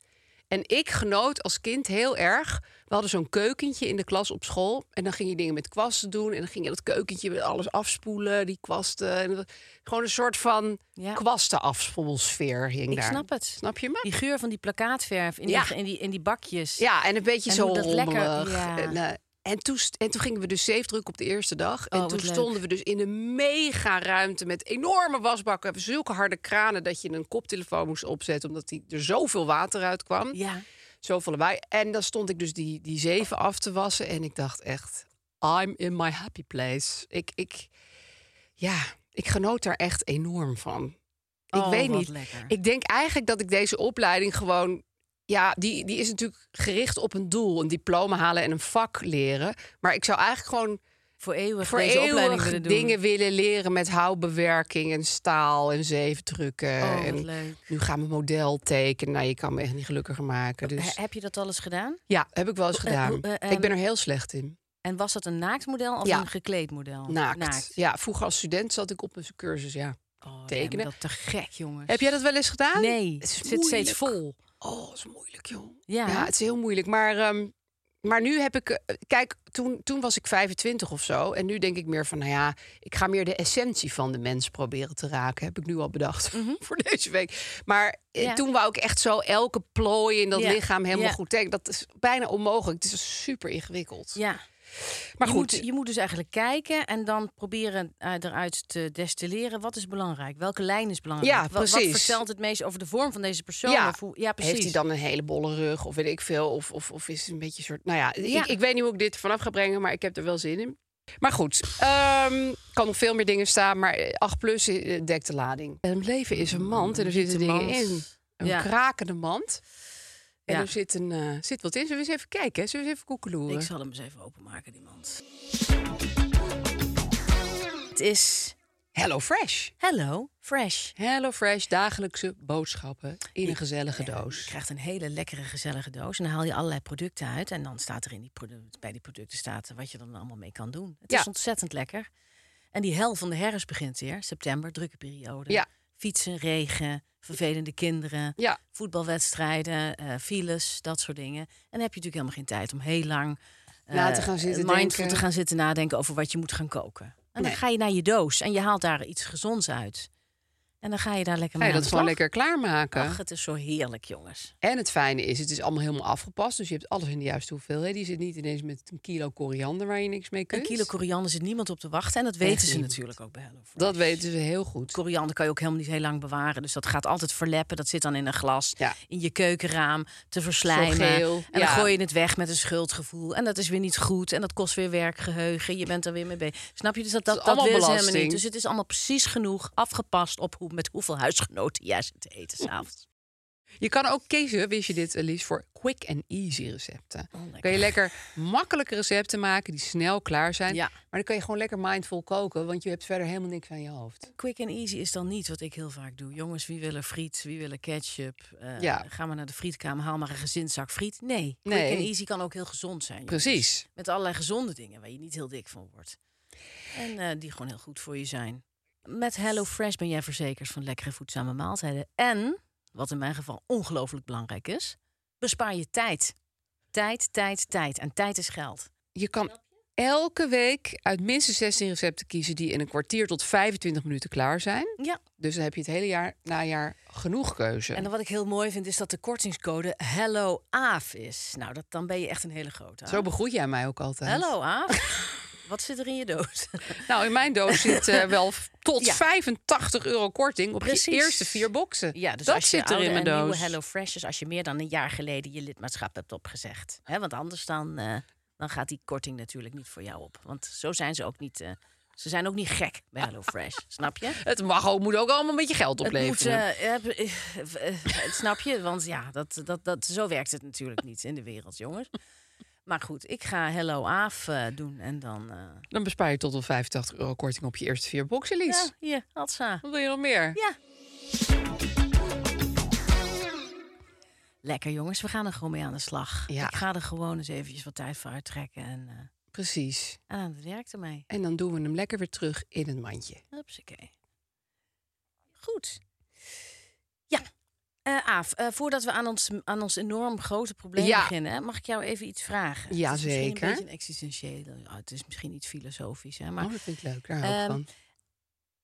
Speaker 1: En ik genoot als kind heel erg. We hadden zo'n keukentje in de klas op school. En dan ging je dingen met kwasten doen. En dan ging je dat keukentje met alles afspoelen, die kwasten. En dat- gewoon een soort van
Speaker 2: Ja.
Speaker 1: kwastenafspoelsfeer hing
Speaker 2: Ik
Speaker 1: daar.
Speaker 2: snap het.
Speaker 1: Snap je me?
Speaker 2: Die geur van die plakkaatverf in,
Speaker 1: Ja.
Speaker 2: die, in, die, in die bakjes.
Speaker 1: Ja, en een beetje
Speaker 2: En
Speaker 1: zo
Speaker 2: hoe dat
Speaker 1: rommelig.
Speaker 2: lekker- ja.
Speaker 1: En, eh, en, toen, st- en toen gingen we dus zeefdruk op de eerste dag.
Speaker 2: Oh,
Speaker 1: en
Speaker 2: wat
Speaker 1: toen
Speaker 2: leuk.
Speaker 1: stonden we dus in een mega ruimte met enorme wasbakken. Zulke harde kranen dat je een koptelefoon moest opzetten. Omdat die, er zoveel water uit kwam.
Speaker 2: Ja.
Speaker 1: Zoveel lawaai. En dan stond ik dus die, die zeven af te wassen. En ik dacht echt, I'm in my happy place. Ik, ik, ja, ik genoot daar echt enorm van. Ik
Speaker 2: Oh,
Speaker 1: weet
Speaker 2: wat
Speaker 1: niet.
Speaker 2: lekker.
Speaker 1: Ik denk eigenlijk dat ik deze opleiding gewoon. Ja, die, die is natuurlijk gericht op een doel. Een diploma halen en een vak leren. Maar ik zou eigenlijk gewoon
Speaker 2: voor eeuwig
Speaker 1: voor
Speaker 2: deze opleiding
Speaker 1: eeuwig
Speaker 2: willen doen.
Speaker 1: dingen willen leren... met houtbewerking en staal en zeefdrukken.
Speaker 2: oh, wat
Speaker 1: en
Speaker 2: leuk.
Speaker 1: nu gaan we model tekenen. Nou, je kan me echt niet gelukkiger maken. Dus
Speaker 2: He- Heb je dat al eens gedaan?
Speaker 1: ja, heb ik wel eens
Speaker 2: Hoe- eh,
Speaker 1: gedaan.
Speaker 2: hoe- eh,
Speaker 1: ik ben
Speaker 2: ehm,
Speaker 1: er heel slecht in.
Speaker 2: En was dat een naakt model of
Speaker 1: Ja.
Speaker 2: een gekleed model?
Speaker 1: Naakt. Ja, vroeger als student zat ik op een cursus, ja.
Speaker 2: Oh, jij
Speaker 1: tekenen.
Speaker 2: bent dat te gek, jongens.
Speaker 1: Heb jij dat wel eens gedaan?
Speaker 2: Nee,
Speaker 1: Het
Speaker 2: het
Speaker 1: is
Speaker 2: zit
Speaker 1: moeilijk.
Speaker 2: steeds vol.
Speaker 1: Oh, dat is moeilijk, joh.
Speaker 2: Ja.
Speaker 1: Ja, het is heel moeilijk. Maar, ehm, maar nu heb ik. eh, Kijk, toen, toen was ik 25 of zo. En nu denk ik meer van, nou ja, ik ga meer de essentie van de mens proberen te raken. Heb ik nu al bedacht voor deze week. Maar eh,
Speaker 2: Mhm. Ja.
Speaker 1: toen wou ik echt zo elke plooi in dat
Speaker 2: Ja.
Speaker 1: lichaam helemaal
Speaker 2: Ja.
Speaker 1: goed tekenen. Dat is bijna onmogelijk. Het is super ingewikkeld.
Speaker 2: Ja.
Speaker 1: Maar
Speaker 2: je
Speaker 1: goed,
Speaker 2: Moet, je moet dus eigenlijk kijken en dan proberen eh, eruit te destilleren. Wat is belangrijk? Welke lijn is belangrijk?
Speaker 1: Ja,
Speaker 2: Wa- Wat,
Speaker 1: precies.
Speaker 2: vertelt het meest over de vorm van deze persoon?
Speaker 1: Ja.
Speaker 2: Of hoe- ja precies.
Speaker 1: heeft hij dan een hele bolle rug of weet ik veel? Of, of, of is het een beetje een soort. Nou ja,
Speaker 2: Ja.
Speaker 1: Ik, ik weet niet hoe ik dit vanaf ga brengen, maar ik heb er wel zin in. Maar goed, ehm kan nog veel meer dingen staan, maar eh, 8 plus eh, dekt de lading. En het leven is een mand en er zitten dingen
Speaker 2: mand.
Speaker 1: in. Een
Speaker 2: Ja.
Speaker 1: krakende mand. En
Speaker 2: Ja.
Speaker 1: er zit, een, eh, zit wat in. Zullen we eens even kijken? hè? Zullen we eens even koekeloeren?
Speaker 2: Ik zal hem eens even openmaken, die mand. Het is
Speaker 1: Hello Fresh.
Speaker 2: Hello Fresh.
Speaker 1: Hello Fresh, dagelijkse boodschappen in een gezellige doos.
Speaker 2: Je krijgt een hele lekkere, gezellige doos. En dan haal je allerlei producten uit. En dan staat er in die product, bij die producten staat wat je dan allemaal mee kan doen. Het
Speaker 1: Ja.
Speaker 2: is ontzettend lekker. En die hel van de herfst begint weer. September, drukke periode.
Speaker 1: Ja.
Speaker 2: Fietsen, regen, vervelende kinderen.
Speaker 1: Ja.
Speaker 2: Voetbalwedstrijden, eh, files, dat soort dingen. En dan heb je natuurlijk helemaal geen tijd om heel lang... eh,
Speaker 1: Na te gaan zitten
Speaker 2: mindful
Speaker 1: denken.
Speaker 2: te gaan zitten nadenken over wat je moet gaan koken. En dan
Speaker 1: Nee.
Speaker 2: ga je naar je doos en je haalt daar iets gezonds uit. En dan ga je daar
Speaker 1: Ga
Speaker 2: lekker mee
Speaker 1: je
Speaker 2: aan
Speaker 1: dat
Speaker 2: de
Speaker 1: gewoon
Speaker 2: slag.
Speaker 1: lekker klaarmaken?
Speaker 2: Ach, het is zo heerlijk, jongens.
Speaker 1: En het fijne is, het is allemaal helemaal afgepast. Dus je hebt alles in de juiste hoeveelheid. Die zit niet ineens met een kilo koriander waar je niks mee kunt.
Speaker 2: Een kilo koriander zit niemand op te wachten. En dat weten ze
Speaker 1: niemand.
Speaker 2: natuurlijk ook bij Hello Fresh. Dus
Speaker 1: Dat weten ze heel goed.
Speaker 2: Koriander kan je ook helemaal niet heel lang bewaren. Dus dat gaat altijd verleppen. Dat zit dan in een glas,
Speaker 1: Ja.
Speaker 2: in je keukenraam, te verslijmen.
Speaker 1: Zo geel,
Speaker 2: en
Speaker 1: ja.
Speaker 2: dan gooi je het weg met een schuldgevoel. En dat is weer niet goed. En dat kost weer werkgeheugen. Je bent er weer mee bezig. Snap je? Dus dat, dat,
Speaker 1: is
Speaker 2: dat
Speaker 1: allemaal
Speaker 2: willen ze helemaal
Speaker 1: belasting.
Speaker 2: niet. Dus het is allemaal precies genoeg afgepast op hoe, met hoeveel huisgenoten jij zit te eten s'avonds.
Speaker 1: Je kan ook kiezen, wist je dit, Elise, voor quick and easy recepten.
Speaker 2: Oh, lekker.
Speaker 1: kun je lekker makkelijke recepten maken die snel klaar zijn.
Speaker 2: Ja.
Speaker 1: Maar dan kun je gewoon lekker mindful koken, want je hebt verder helemaal niks aan je hoofd.
Speaker 2: Quick and easy is dan niet wat ik heel vaak doe. Jongens, wie willen friet? Wie willen ketchup? Eh,
Speaker 1: Ja.
Speaker 2: Ga maar naar de frietkamer, haal maar een gezinszak friet. Nee,
Speaker 1: Nee.
Speaker 2: quick and easy kan ook heel gezond zijn. jongens.
Speaker 1: Precies.
Speaker 2: Met allerlei gezonde dingen waar je niet heel dik van wordt. En eh, die gewoon heel goed voor je zijn. Met HelloFresh ben jij verzekerd van lekkere voedzame maaltijden. En, wat in mijn geval ongelooflijk belangrijk is, bespaar je tijd. Tijd, tijd, tijd. En tijd is geld.
Speaker 1: Je kan elke week uit minstens 16 recepten kiezen die in een kwartier tot 25 minuten klaar zijn.
Speaker 2: Ja.
Speaker 1: Dus dan heb je het hele jaar najaar genoeg keuze.
Speaker 2: En dan wat ik heel mooi vind, is dat de kortingscode Hello Aaf is. Nou, dat, dan ben je echt een hele grote. Aaf.
Speaker 1: Zo begroet jij mij ook altijd.
Speaker 2: Hello Aaf. wat zit er in je doos?
Speaker 1: Nou, in mijn doos zit eh, wel f- tot
Speaker 2: Ja.
Speaker 1: 85 euro korting op
Speaker 2: Precies.
Speaker 1: je eerste vier boxen.
Speaker 2: Ja, dus
Speaker 1: dat
Speaker 2: als je
Speaker 1: zit er
Speaker 2: oude
Speaker 1: in mijn
Speaker 2: en nieuwe
Speaker 1: doos.
Speaker 2: Hello Fresh is als je meer dan een jaar geleden je lidmaatschap hebt opgezegd. Hè, want anders dan, eh, dan gaat die korting natuurlijk niet voor jou op. Want zo zijn ze ook niet. eh, ze zijn ook niet gek bij Hello Fresh, snap je?
Speaker 1: Het mag ook, moet ook allemaal een beetje geld
Speaker 2: Het moet,
Speaker 1: opleveren.
Speaker 2: eh, heb- eh, eh, snap je? Want ja, dat, dat, dat, zo werkt het natuurlijk niet in de wereld, jongens. Maar goed, ik ga Hello Aaf eh, doen en dan... eh
Speaker 1: Dan bespaar je tot wel 85 euro korting op je eerste vier boxen, Lies.
Speaker 2: ja, hier, Atsa.
Speaker 1: Wat wil je nog meer?
Speaker 2: Ja. Lekker jongens, we gaan er gewoon mee aan de slag.
Speaker 1: Ja.
Speaker 2: Ik ga er gewoon eens eventjes wat tijd voor uittrekken en, eh,
Speaker 1: Precies.
Speaker 2: en aan het werk ermee.
Speaker 1: En dan doen we hem lekker weer terug in het mandje.
Speaker 2: Hupsakee. Goed. Ja. Eh, Aaf, eh, voordat we aan ons, aan ons enorm grote probleem
Speaker 1: Ja.
Speaker 2: beginnen, hè, mag ik jou even iets vragen?
Speaker 1: Ja,
Speaker 2: Het is misschien
Speaker 1: zeker.
Speaker 2: Een beetje een existentiële. ah, het is misschien iets filosofisch, hè, maar
Speaker 1: oh, dat vind ik leuk. Daar hou ik
Speaker 2: Ehm,
Speaker 1: van.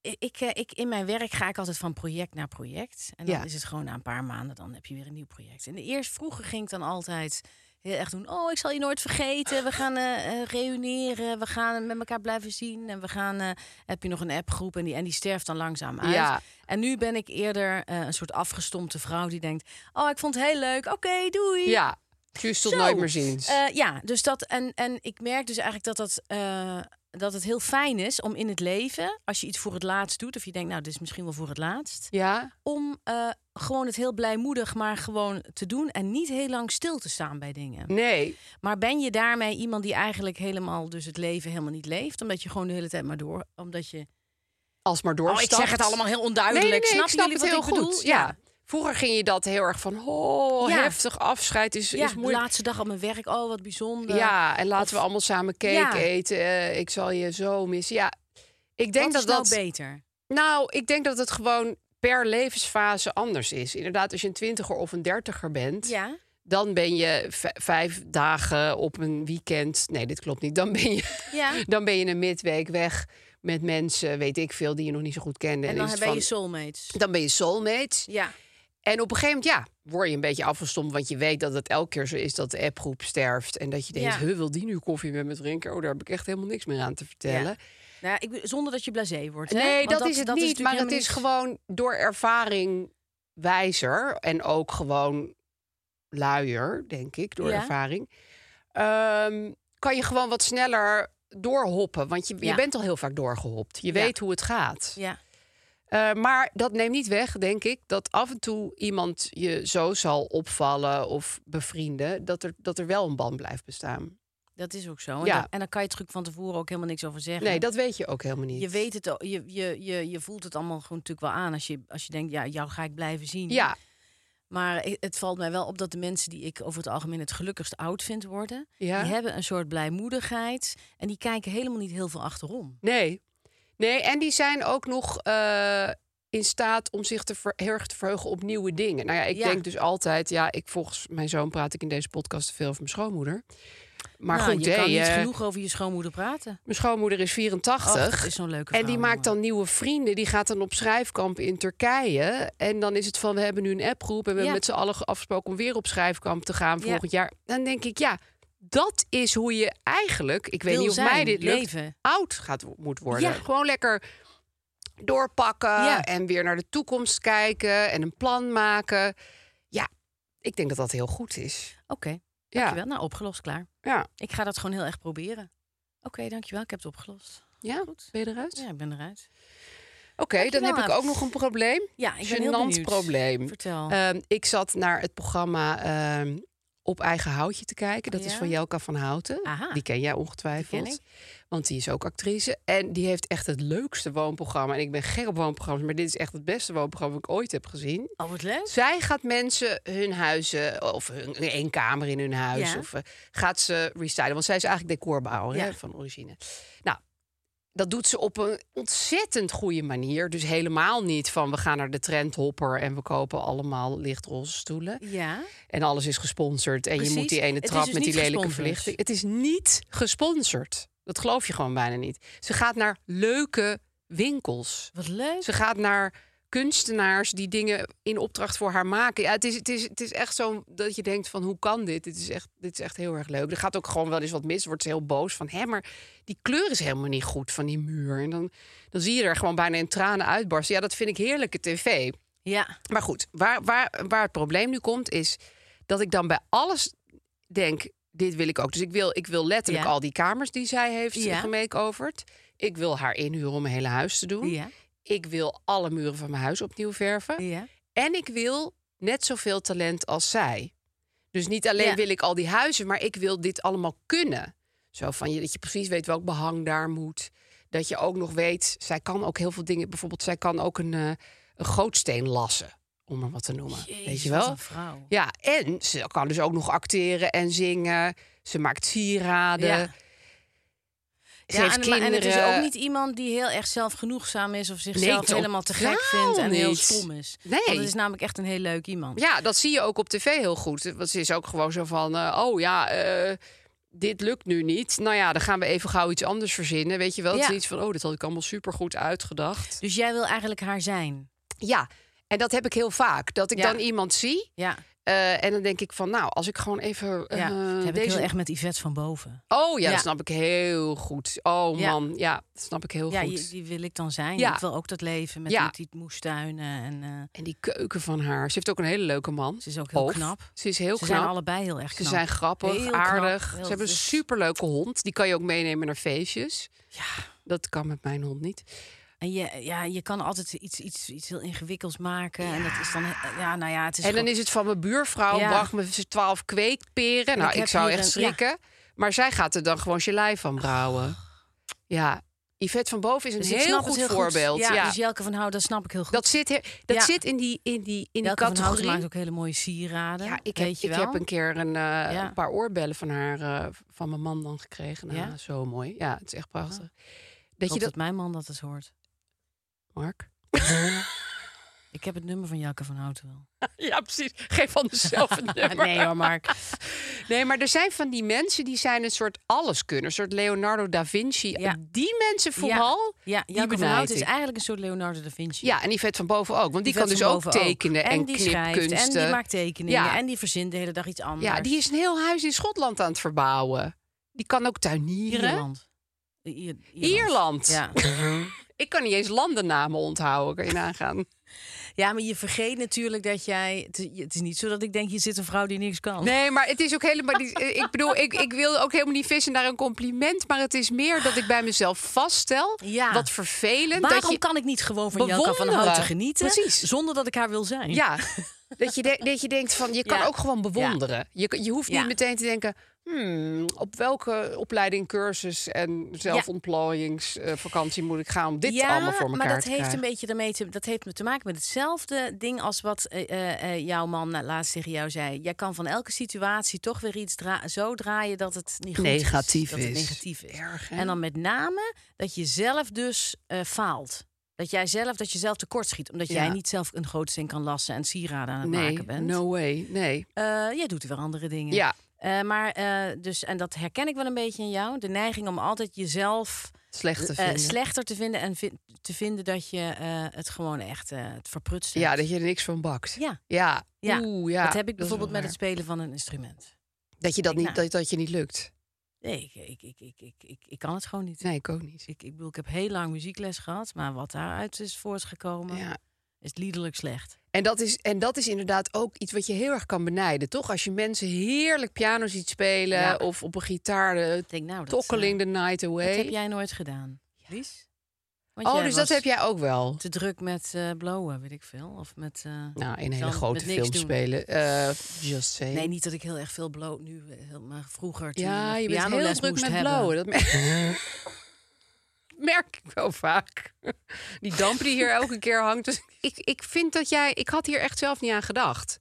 Speaker 2: ik, ik, eh, ik, in mijn werk ga ik altijd van project naar project. En dan
Speaker 1: Ja.
Speaker 2: is het gewoon na een paar maanden, dan heb je weer een nieuw project. En de eerst vroeger ging ik dan altijd heel echt doen. Oh, ik zal je nooit vergeten. We gaan eh, eh, reuneren. We gaan eh, met elkaar blijven zien. En we gaan. eh, heb je nog een appgroep? En die, en die sterft dan langzaam uit.
Speaker 1: Ja.
Speaker 2: En nu ben ik eerder eh, een soort afgestompte vrouw die denkt. Oh, ik vond het heel leuk. Oké, doei.
Speaker 1: Ja, juist tot
Speaker 2: Zo.
Speaker 1: nooit meer ziens.
Speaker 2: Eh, ja, dus dat en, en ik merk dus eigenlijk dat dat. eh, dat het heel fijn is om in het leven, als je iets voor het laatst doet, of je denkt, nou, dit is misschien wel voor het laatst,
Speaker 1: ja,
Speaker 2: om eh, gewoon het heel blijmoedig maar gewoon te doen en niet heel lang stil te staan bij dingen.
Speaker 1: nee.
Speaker 2: Maar ben je daarmee iemand die eigenlijk helemaal, dus het leven helemaal niet leeft, omdat je gewoon de hele tijd maar door, omdat je.
Speaker 1: Oh, Als maar
Speaker 2: Oh,
Speaker 1: doorstapt.
Speaker 2: ik zeg het allemaal heel
Speaker 1: Nee,
Speaker 2: onduidelijk.
Speaker 1: nee, nee,
Speaker 2: Snappen
Speaker 1: ik snap
Speaker 2: jullie
Speaker 1: het heel
Speaker 2: wat ik
Speaker 1: goed.
Speaker 2: bedoel?
Speaker 1: Ja. Vroeger ging je dat heel erg van, oh,
Speaker 2: Ja.
Speaker 1: heftig afscheid is,
Speaker 2: Ja,
Speaker 1: is
Speaker 2: de
Speaker 1: moeilijk.
Speaker 2: laatste dag op mijn werk. Oh, wat bijzonder.
Speaker 1: Ja, en laten
Speaker 2: Of-
Speaker 1: we allemaal samen cake
Speaker 2: Ja.
Speaker 1: eten. eh, ik zal je zo missen. Ja, ik denk
Speaker 2: Wat is
Speaker 1: dat
Speaker 2: nou
Speaker 1: dat.
Speaker 2: beter.
Speaker 1: nou, ik denk dat het gewoon per levensfase anders is. Inderdaad, als je een twintiger of een dertiger bent,
Speaker 2: Ja.
Speaker 1: dan ben je v- vijf dagen op een weekend. Nee, dit klopt niet. Dan ben je,
Speaker 2: Ja.
Speaker 1: dan ben je een midweek weg met mensen, weet ik veel, die je nog niet zo goed kende.
Speaker 2: En
Speaker 1: is
Speaker 2: dan
Speaker 1: het
Speaker 2: ben je
Speaker 1: van-
Speaker 2: soulmates.
Speaker 1: dan ben je soulmates.
Speaker 2: Ja.
Speaker 1: En op een gegeven moment, ja, word je een beetje afgestomd. Want je weet dat het elke keer zo is dat de appgroep sterft. En dat je denkt,
Speaker 2: Ja.
Speaker 1: "Huh, wil die nu koffie met me drinken? Oh, daar heb ik echt helemaal niks meer aan te vertellen.
Speaker 2: Nou, ja, ik, bedoel, zonder dat je blasé wordt. hè?
Speaker 1: Nee,
Speaker 2: Want
Speaker 1: dat, is het niet.
Speaker 2: natuurlijk
Speaker 1: maar het is
Speaker 2: helemaal niet-
Speaker 1: gewoon door ervaring wijzer. En ook gewoon luier, denk ik, door
Speaker 2: Ja.
Speaker 1: ervaring. Ehm, kan je gewoon wat sneller doorhoppen. Want je,
Speaker 2: Ja.
Speaker 1: je bent al heel vaak doorgehopt. Je
Speaker 2: Ja.
Speaker 1: weet hoe het gaat.
Speaker 2: Ja.
Speaker 1: Eh, maar dat neemt niet weg, denk ik, dat af en toe iemand je zo zal opvallen of bevrienden, dat er, dat er wel een band blijft bestaan.
Speaker 2: Dat is ook zo. En,
Speaker 1: Ja.
Speaker 2: dan, en dan kan je terug van tevoren ook helemaal niks over zeggen.
Speaker 1: Nee, dat weet je ook helemaal niet.
Speaker 2: Je weet het al, je, je, je, je voelt het allemaal gewoon natuurlijk wel aan als je, als je denkt, ja, jou ga ik blijven zien.
Speaker 1: Ja,
Speaker 2: Maar i- het valt mij wel op dat de mensen die ik over het algemeen het gelukkigst oud vind worden,
Speaker 1: Ja.
Speaker 2: die hebben een soort blijmoedigheid en die kijken helemaal niet heel veel achterom.
Speaker 1: nee. Nee, en die zijn ook nog eh, in staat om zich te ver, heel erg te verheugen op nieuwe dingen. Nou ja, ik
Speaker 2: Ja.
Speaker 1: denk dus altijd, ja, ik volgens mijn zoon praat ik in deze podcast te veel over mijn schoonmoeder. Maar
Speaker 2: Nou,
Speaker 1: goed,
Speaker 2: je
Speaker 1: hè,
Speaker 2: kan niet
Speaker 1: eh,
Speaker 2: genoeg over je schoonmoeder praten.
Speaker 1: mijn schoonmoeder is
Speaker 2: Och,
Speaker 1: 84.
Speaker 2: dat is zo'n leuke
Speaker 1: En die
Speaker 2: vrouw,
Speaker 1: maakt
Speaker 2: jongen.
Speaker 1: dan nieuwe vrienden. Die gaat dan op schrijfkamp in Turkije. En dan is het van, we hebben nu een appgroep... en we
Speaker 2: Ja.
Speaker 1: hebben met z'n allen afgesproken om weer op schrijfkamp te gaan
Speaker 2: Ja.
Speaker 1: volgend jaar. Dan denk ik, ja, dat is hoe je eigenlijk... Ik weet
Speaker 2: Wil
Speaker 1: niet of mij
Speaker 2: zijn,
Speaker 1: dit lukt,
Speaker 2: leven.
Speaker 1: oud gaat, moet worden.
Speaker 2: Ja.
Speaker 1: Gewoon lekker doorpakken
Speaker 2: Ja.
Speaker 1: en weer naar de toekomst kijken... en een plan maken. Ja, ik denk dat dat heel goed is.
Speaker 2: Oké,
Speaker 1: Ja,
Speaker 2: dankjewel. Nou, opgelost, klaar.
Speaker 1: ja.
Speaker 2: Ik ga dat gewoon heel erg proberen. Oké, dankjewel. Ik heb het opgelost.
Speaker 1: ja.
Speaker 2: Goed.
Speaker 1: ben je eruit?
Speaker 2: Ja, ik ben eruit.
Speaker 1: Oké, dan
Speaker 2: Dankjewel,
Speaker 1: heb ik
Speaker 2: Aaf.
Speaker 1: ook nog een probleem.
Speaker 2: Ja, ik ben heel
Speaker 1: Gênant
Speaker 2: benieuwd. Eh,
Speaker 1: probleem.
Speaker 2: Vertel.
Speaker 1: Ehm, ik zat naar het programma ehm, Op Eigen Houtje te kijken. Dat is
Speaker 2: Oh Ja?
Speaker 1: van Jelka van Houten.
Speaker 2: Aha.
Speaker 1: Die ken jij ongetwijfeld.
Speaker 2: Die ken
Speaker 1: Want die is ook actrice. En die heeft echt het leukste woonprogramma. En ik ben gek op woonprogramma's, maar dit is echt het beste woonprogramma dat ik ooit heb gezien.
Speaker 2: oh, wat leuk.
Speaker 1: Zij gaat mensen hun huizen, of hun, één kamer in hun huis,
Speaker 2: Ja.
Speaker 1: of eh, gaat ze restylen. Want zij is eigenlijk decorbouwer hè,
Speaker 2: Ja.
Speaker 1: van origine. Nou, dat doet ze op een ontzettend goede manier. Dus helemaal niet van we gaan naar de trendhopper en we kopen allemaal lichtroze stoelen.
Speaker 2: Ja.
Speaker 1: En alles is gesponsord. En
Speaker 2: Precies.
Speaker 1: je moet die ene
Speaker 2: Het is
Speaker 1: trap
Speaker 2: dus
Speaker 1: met die
Speaker 2: niet
Speaker 1: lelijke
Speaker 2: gesponsord.
Speaker 1: verlichting. Het is niet gesponsord. Dat geloof je gewoon bijna niet. Ze gaat naar leuke winkels.
Speaker 2: Wat leuk.
Speaker 1: Ze gaat naar kunstenaars die dingen in opdracht voor haar maken. Ja, het, is, het, is, het is echt zo dat je denkt van hoe kan dit? Dit is echt, dit is echt heel erg leuk. Er gaat ook gewoon wel eens wat mis. Wordt ze heel boos van hè, maar die kleur is helemaal niet goed van die muur. En dan, dan zie je er gewoon bijna in tranen uitbarsten. Ja, dat vind ik heerlijke tv.
Speaker 2: Ja.
Speaker 1: Maar goed, waar, waar, waar het probleem nu komt is dat ik dan bij alles denk: dit wil ik ook. Dus ik wil, ik wil letterlijk
Speaker 2: Ja.
Speaker 1: al die kamers die zij heeft
Speaker 2: Ja.
Speaker 1: ja. gemakeoverd. Ik wil haar inhuren om mijn hele huis te doen.
Speaker 2: Ja.
Speaker 1: Ik wil alle muren van mijn huis opnieuw verven.
Speaker 2: Ja.
Speaker 1: En ik wil net zoveel talent als zij. Dus niet alleen
Speaker 2: Ja.
Speaker 1: wil ik al die huizen, maar ik wil dit allemaal kunnen. Zo van je dat je precies weet welk behang daar moet. Dat je ook nog weet, zij kan ook heel veel dingen. Bijvoorbeeld, zij kan ook een, eh, een gootsteen lassen, om maar wat te noemen. weet je
Speaker 2: Jezus, wat
Speaker 1: wel?
Speaker 2: een vrouw.
Speaker 1: Ja, en ze kan dus ook nog acteren en zingen. Ze maakt sieraden.
Speaker 2: Ja.
Speaker 1: Ze
Speaker 2: Ja,
Speaker 1: heeft
Speaker 2: en, maar-
Speaker 1: kinderen.
Speaker 2: en het is ook niet iemand die heel erg zelfgenoegzaam is of zichzelf
Speaker 1: totaal
Speaker 2: helemaal te gek vindt en heel
Speaker 1: niet.
Speaker 2: stom is.
Speaker 1: Nee.
Speaker 2: Want het is namelijk echt een heel leuk iemand.
Speaker 1: Ja, dat zie je ook op tv heel goed. Want ze is ook gewoon zo van, eh, oh ja, eh, dit lukt nu niet. Nou ja, dan gaan we even gauw iets anders verzinnen. Weet je wel, het
Speaker 2: Ja.
Speaker 1: is iets van, oh, dat had ik allemaal supergoed uitgedacht.
Speaker 2: Dus jij wil eigenlijk haar zijn.
Speaker 1: Ja, en dat heb ik heel vaak. Dat ik
Speaker 2: Ja.
Speaker 1: dan iemand zie
Speaker 2: Ja.
Speaker 1: eh, en dan denk ik van, nou, als ik gewoon even
Speaker 2: ja.
Speaker 1: eh,
Speaker 2: dat heb ik
Speaker 1: deze...
Speaker 2: heel echt met Yvette van boven.
Speaker 1: Oh ja,
Speaker 2: Ja.
Speaker 1: dat snap ik heel goed. Oh
Speaker 2: Ja.
Speaker 1: man, ja, dat snap ik heel
Speaker 2: Ja,
Speaker 1: Oh, goed.
Speaker 2: die, die wil ik dan zijn.
Speaker 1: Ja.
Speaker 2: Ik wil ook dat leven met,
Speaker 1: Ja.
Speaker 2: met die moestuinen. En, eh,
Speaker 1: En die keuken van haar. Ze heeft ook een hele leuke man.
Speaker 2: Ze is ook heel
Speaker 1: Of,
Speaker 2: knap.
Speaker 1: Ze is heel
Speaker 2: ze
Speaker 1: knap.
Speaker 2: zijn allebei heel erg
Speaker 1: Ze
Speaker 2: knap.
Speaker 1: zijn grappig,
Speaker 2: Heel knap,
Speaker 1: aardig.
Speaker 2: heel-
Speaker 1: ze hebben een
Speaker 2: dus-
Speaker 1: superleuke hond. Die kan je ook meenemen naar feestjes.
Speaker 2: Ja.
Speaker 1: Dat kan met mijn hond niet.
Speaker 2: En je, ja, je kan altijd iets, iets, iets heel ingewikkelds maken. En dat is dan... Ja, nou ja, het is
Speaker 1: en dan
Speaker 2: gewoon-
Speaker 1: is het van mijn buurvrouw,
Speaker 2: Ja.
Speaker 1: bracht me ze twaalf kweekperen. Nou,
Speaker 2: ik
Speaker 1: ik,
Speaker 2: heb
Speaker 1: zou
Speaker 2: hier
Speaker 1: echt
Speaker 2: een- ja.
Speaker 1: schrikken. Maar zij gaat er dan gewoon gelei van brouwen. Ja, Yvette van Boven is een
Speaker 2: Dus ik
Speaker 1: heel
Speaker 2: snap
Speaker 1: goed
Speaker 2: het
Speaker 1: voorbeeld.
Speaker 2: Ja,
Speaker 1: Ja,
Speaker 2: Dus Jelke van Hout, dat snap ik heel goed.
Speaker 1: Dat zit, he- dat
Speaker 2: Ja.
Speaker 1: zit in die, in die, in die
Speaker 2: Jelke van Hout maakt
Speaker 1: categorie.
Speaker 2: ook hele mooie sieraden.
Speaker 1: Ja, ik heb,
Speaker 2: weet je
Speaker 1: ik
Speaker 2: wel.
Speaker 1: heb een keer een, eh,
Speaker 2: Ja.
Speaker 1: een paar oorbellen van haar, eh, van mijn man dan gekregen. Nou,
Speaker 2: Ja? Ah.
Speaker 1: Zo mooi. Ja, het is echt prachtig.
Speaker 2: Ik
Speaker 1: Dat
Speaker 2: hoop
Speaker 1: je
Speaker 2: dat...
Speaker 1: dat,
Speaker 2: mijn man dat eens hoort.
Speaker 1: Mark?
Speaker 2: Ik heb het nummer van Jelke van Hout wel. Ah,
Speaker 1: Ja, precies. Geef van zelf een nummer.
Speaker 2: Nee hoor, Mark.
Speaker 1: Nee, maar er zijn van die mensen die zijn een soort alleskunner. Een soort Leonardo da Vinci.
Speaker 2: Ja.
Speaker 1: Die mensen vooral.
Speaker 2: Ja,
Speaker 1: die
Speaker 2: Jelke van
Speaker 1: benijd
Speaker 2: Hout is
Speaker 1: ik.
Speaker 2: eigenlijk een soort Leonardo da Vinci.
Speaker 1: Ja, en die vet van boven ook. Want die, kan
Speaker 2: vet
Speaker 1: dus
Speaker 2: van
Speaker 1: ook
Speaker 2: boven
Speaker 1: tekenen en,
Speaker 2: en die schrijft,
Speaker 1: knipkunsten.
Speaker 2: En die maakt tekeningen.
Speaker 1: Ja.
Speaker 2: En die verzint de hele dag iets anders.
Speaker 1: ja, die is een heel huis in Schotland aan het verbouwen. Die kan ook tuinieren.
Speaker 2: Ierland. I- Ier-
Speaker 1: Ierland.
Speaker 2: Ja.
Speaker 1: Ik kan niet eens landennamen onthouden. Kan je nagaan.
Speaker 2: ja, maar je vergeet natuurlijk dat jij... Het is- het is niet zo dat ik denk, je zit een vrouw die niks kan.
Speaker 1: Nee, maar het is ook helemaal niet. eh, Ik bedoel, ik, ik wil ook helemaal niet vissen naar een compliment. Maar het is meer dat ik bij mezelf vaststel.
Speaker 2: Ja.
Speaker 1: Wat vervelend. dat
Speaker 2: Waarom
Speaker 1: je,
Speaker 2: kan ik niet gewoon van Jelka van
Speaker 1: Bewonderen.
Speaker 2: Houten genieten...
Speaker 1: Precies.
Speaker 2: zonder dat ik haar wil zijn?
Speaker 1: Ja, dat je, de- dat je denkt van je kan
Speaker 2: Ja.
Speaker 1: ook gewoon bewonderen. Je, je hoeft
Speaker 2: Ja.
Speaker 1: niet meteen te denken. Hmm, op welke opleiding, cursus en zelfontplooiingsvakantie moet ik gaan om dit
Speaker 2: ja,
Speaker 1: allemaal voor elkaar
Speaker 2: maar dat
Speaker 1: te
Speaker 2: heeft
Speaker 1: krijgen?
Speaker 2: een beetje daarmee te, dat heeft te maken met hetzelfde ding als wat eh, eh, eh, jouw man na- laatst tegen jou zei. Jij kan van elke situatie toch weer iets dra- zo draaien dat het niet goed
Speaker 1: Negatief
Speaker 2: is. Dat het
Speaker 1: is.
Speaker 2: negatief is.
Speaker 1: Erg, hè?
Speaker 2: en dan met name dat je zelf dus eh, faalt. Dat jij zelf, dat je zelf tekort schiet. Omdat jij
Speaker 1: Ja.
Speaker 2: niet zelf een gootsteen kan lassen en sieraden aan het
Speaker 1: nee,
Speaker 2: maken bent.
Speaker 1: no way, nee.
Speaker 2: Eh, jij doet wel andere dingen.
Speaker 1: Ja,
Speaker 2: Eh, maar eh, dus, en dat herken ik wel een beetje in jou. De neiging om altijd jezelf
Speaker 1: slecht te
Speaker 2: eh,
Speaker 1: vinden.
Speaker 2: slechter te vinden en vin- te vinden dat je eh, het gewoon echt eh, het verprutst hebt.
Speaker 1: ja, dat je er niks van bakt.
Speaker 2: Ja.
Speaker 1: Ja,
Speaker 2: Ja,
Speaker 1: Oeh, ja.
Speaker 2: dat heb ik
Speaker 1: is wel
Speaker 2: bijvoorbeeld met
Speaker 1: waar.
Speaker 2: het spelen van een instrument.
Speaker 1: Dat je dat
Speaker 2: denk,
Speaker 1: niet, dat, dat je niet lukt.
Speaker 2: Nee, ik, ik, ik, ik, ik, ik, ik kan het gewoon niet. Dus
Speaker 1: Nee, ik ook niet.
Speaker 2: Ik, ik bedoel, ik heb heel lang muziekles gehad, maar wat daaruit is voortgekomen,
Speaker 1: Ja.
Speaker 2: is liederlijk slecht.
Speaker 1: En dat, is, en dat is inderdaad ook iets wat je heel erg kan benijden, toch? Als je mensen heerlijk piano ziet spelen
Speaker 2: Ja.
Speaker 1: of op een gitaar de
Speaker 2: Ik denk, nou, dat,
Speaker 1: Tokkeling
Speaker 2: eh,
Speaker 1: the night away.
Speaker 2: dat heb jij nooit gedaan. Lies? Want
Speaker 1: oh,
Speaker 2: jij
Speaker 1: dus
Speaker 2: was
Speaker 1: dat heb jij ook wel.
Speaker 2: Te druk met eh, blowen, weet ik veel. Of met. eh,
Speaker 1: Nou, in
Speaker 2: zelf
Speaker 1: hele
Speaker 2: met
Speaker 1: grote
Speaker 2: niks
Speaker 1: films
Speaker 2: doen.
Speaker 1: spelen. Eh, just say.
Speaker 2: Nee, niet dat ik heel erg veel bloot nu, eh, heel- maar vroeger. Toen
Speaker 1: ja,
Speaker 2: ik
Speaker 1: je bent heel
Speaker 2: pianoles
Speaker 1: druk
Speaker 2: moest
Speaker 1: met
Speaker 2: hebben.
Speaker 1: blauwen. Dat mer- merk ik wel vaak. Die damp die hier elke keer hangt. Dus ik, ik vind dat jij... Ik had hier echt zelf niet aan gedacht.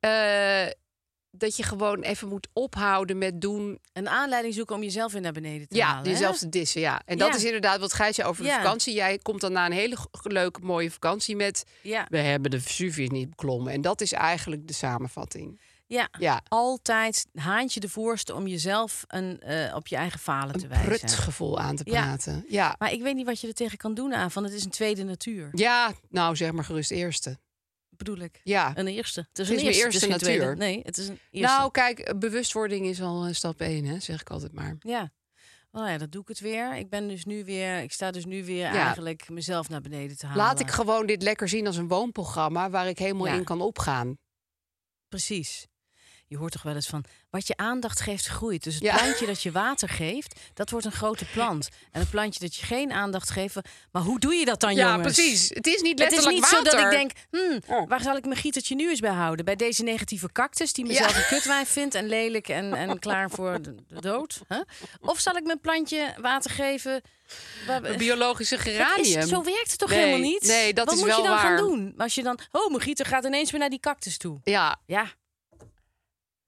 Speaker 1: Eh, dat je gewoon even moet ophouden met doen.
Speaker 2: Een aanleiding zoeken om jezelf weer naar beneden te
Speaker 1: Ja,
Speaker 2: halen. hè?
Speaker 1: jezelf te dissen. Ja. En dat
Speaker 2: Ja.
Speaker 1: is inderdaad wat Gijs zei over de
Speaker 2: Ja.
Speaker 1: vakantie. Jij komt dan na een hele g- leuke, mooie vakantie met.
Speaker 2: Ja.
Speaker 1: We hebben de Vesuvius niet beklommen. En dat is eigenlijk de samenvatting.
Speaker 2: ja.
Speaker 1: Ja,
Speaker 2: Altijd haantje de voorste om jezelf een, eh, op je eigen falen te
Speaker 1: een
Speaker 2: wijzen.
Speaker 1: prutgevoel aan te
Speaker 2: Ja.
Speaker 1: praten. Ja.
Speaker 2: Maar ik weet niet wat je er tegen kan doen aan, van het is een tweede natuur.
Speaker 1: ja, nou zeg maar gerust eerste.
Speaker 2: Bedoel ik.
Speaker 1: Ja.
Speaker 2: Een eerste. Het
Speaker 1: Het is
Speaker 2: is, een
Speaker 1: mijn
Speaker 2: eerste,
Speaker 1: eerste
Speaker 2: het is geen
Speaker 1: natuur.
Speaker 2: Tweede. Nee, het is een eerste.
Speaker 1: Nou, kijk, eh, bewustwording is al eh, stap 1, hè, zeg ik altijd maar.
Speaker 2: Ja. Nou ja, dat doe ik het weer. Ik ben dus nu weer, ik sta dus nu weer
Speaker 1: Ja.
Speaker 2: eigenlijk mezelf naar beneden te halen.
Speaker 1: Laat ik gewoon dit lekker zien als een woonprogramma waar ik helemaal
Speaker 2: Ah, Ja.
Speaker 1: in kan opgaan.
Speaker 2: Precies. Je hoort toch wel eens van wat je aandacht geeft groeit. Dus het
Speaker 1: Ja.
Speaker 2: plantje dat je water geeft, dat wordt een grote plant. En het plantje dat je geen aandacht geeft, maar hoe doe je dat dan,
Speaker 1: ja,
Speaker 2: jongens?
Speaker 1: precies. Het is niet
Speaker 2: Het is
Speaker 1: letterlijk
Speaker 2: niet zo dat ik
Speaker 1: water.
Speaker 2: denk, hmm, waar zal ik mijn gietertje nu eens bij houden? Bij deze negatieve cactus die mezelf
Speaker 1: Ja.
Speaker 2: een kutwijn vindt en lelijk en, en klaar voor de, de dood. hè? Of zal ik mijn plantje water geven? Waar-
Speaker 1: Een biologische
Speaker 2: eh, Het is-
Speaker 1: geranium.
Speaker 2: zo werkt het toch
Speaker 1: Nee,
Speaker 2: helemaal niet?
Speaker 1: nee, dat
Speaker 2: Wat
Speaker 1: is
Speaker 2: moet
Speaker 1: wel
Speaker 2: je dan
Speaker 1: waar.
Speaker 2: gaan doen? Als je dan, oh, mijn gieter gaat ineens weer naar die cactus toe.
Speaker 1: Ja,
Speaker 2: Ja,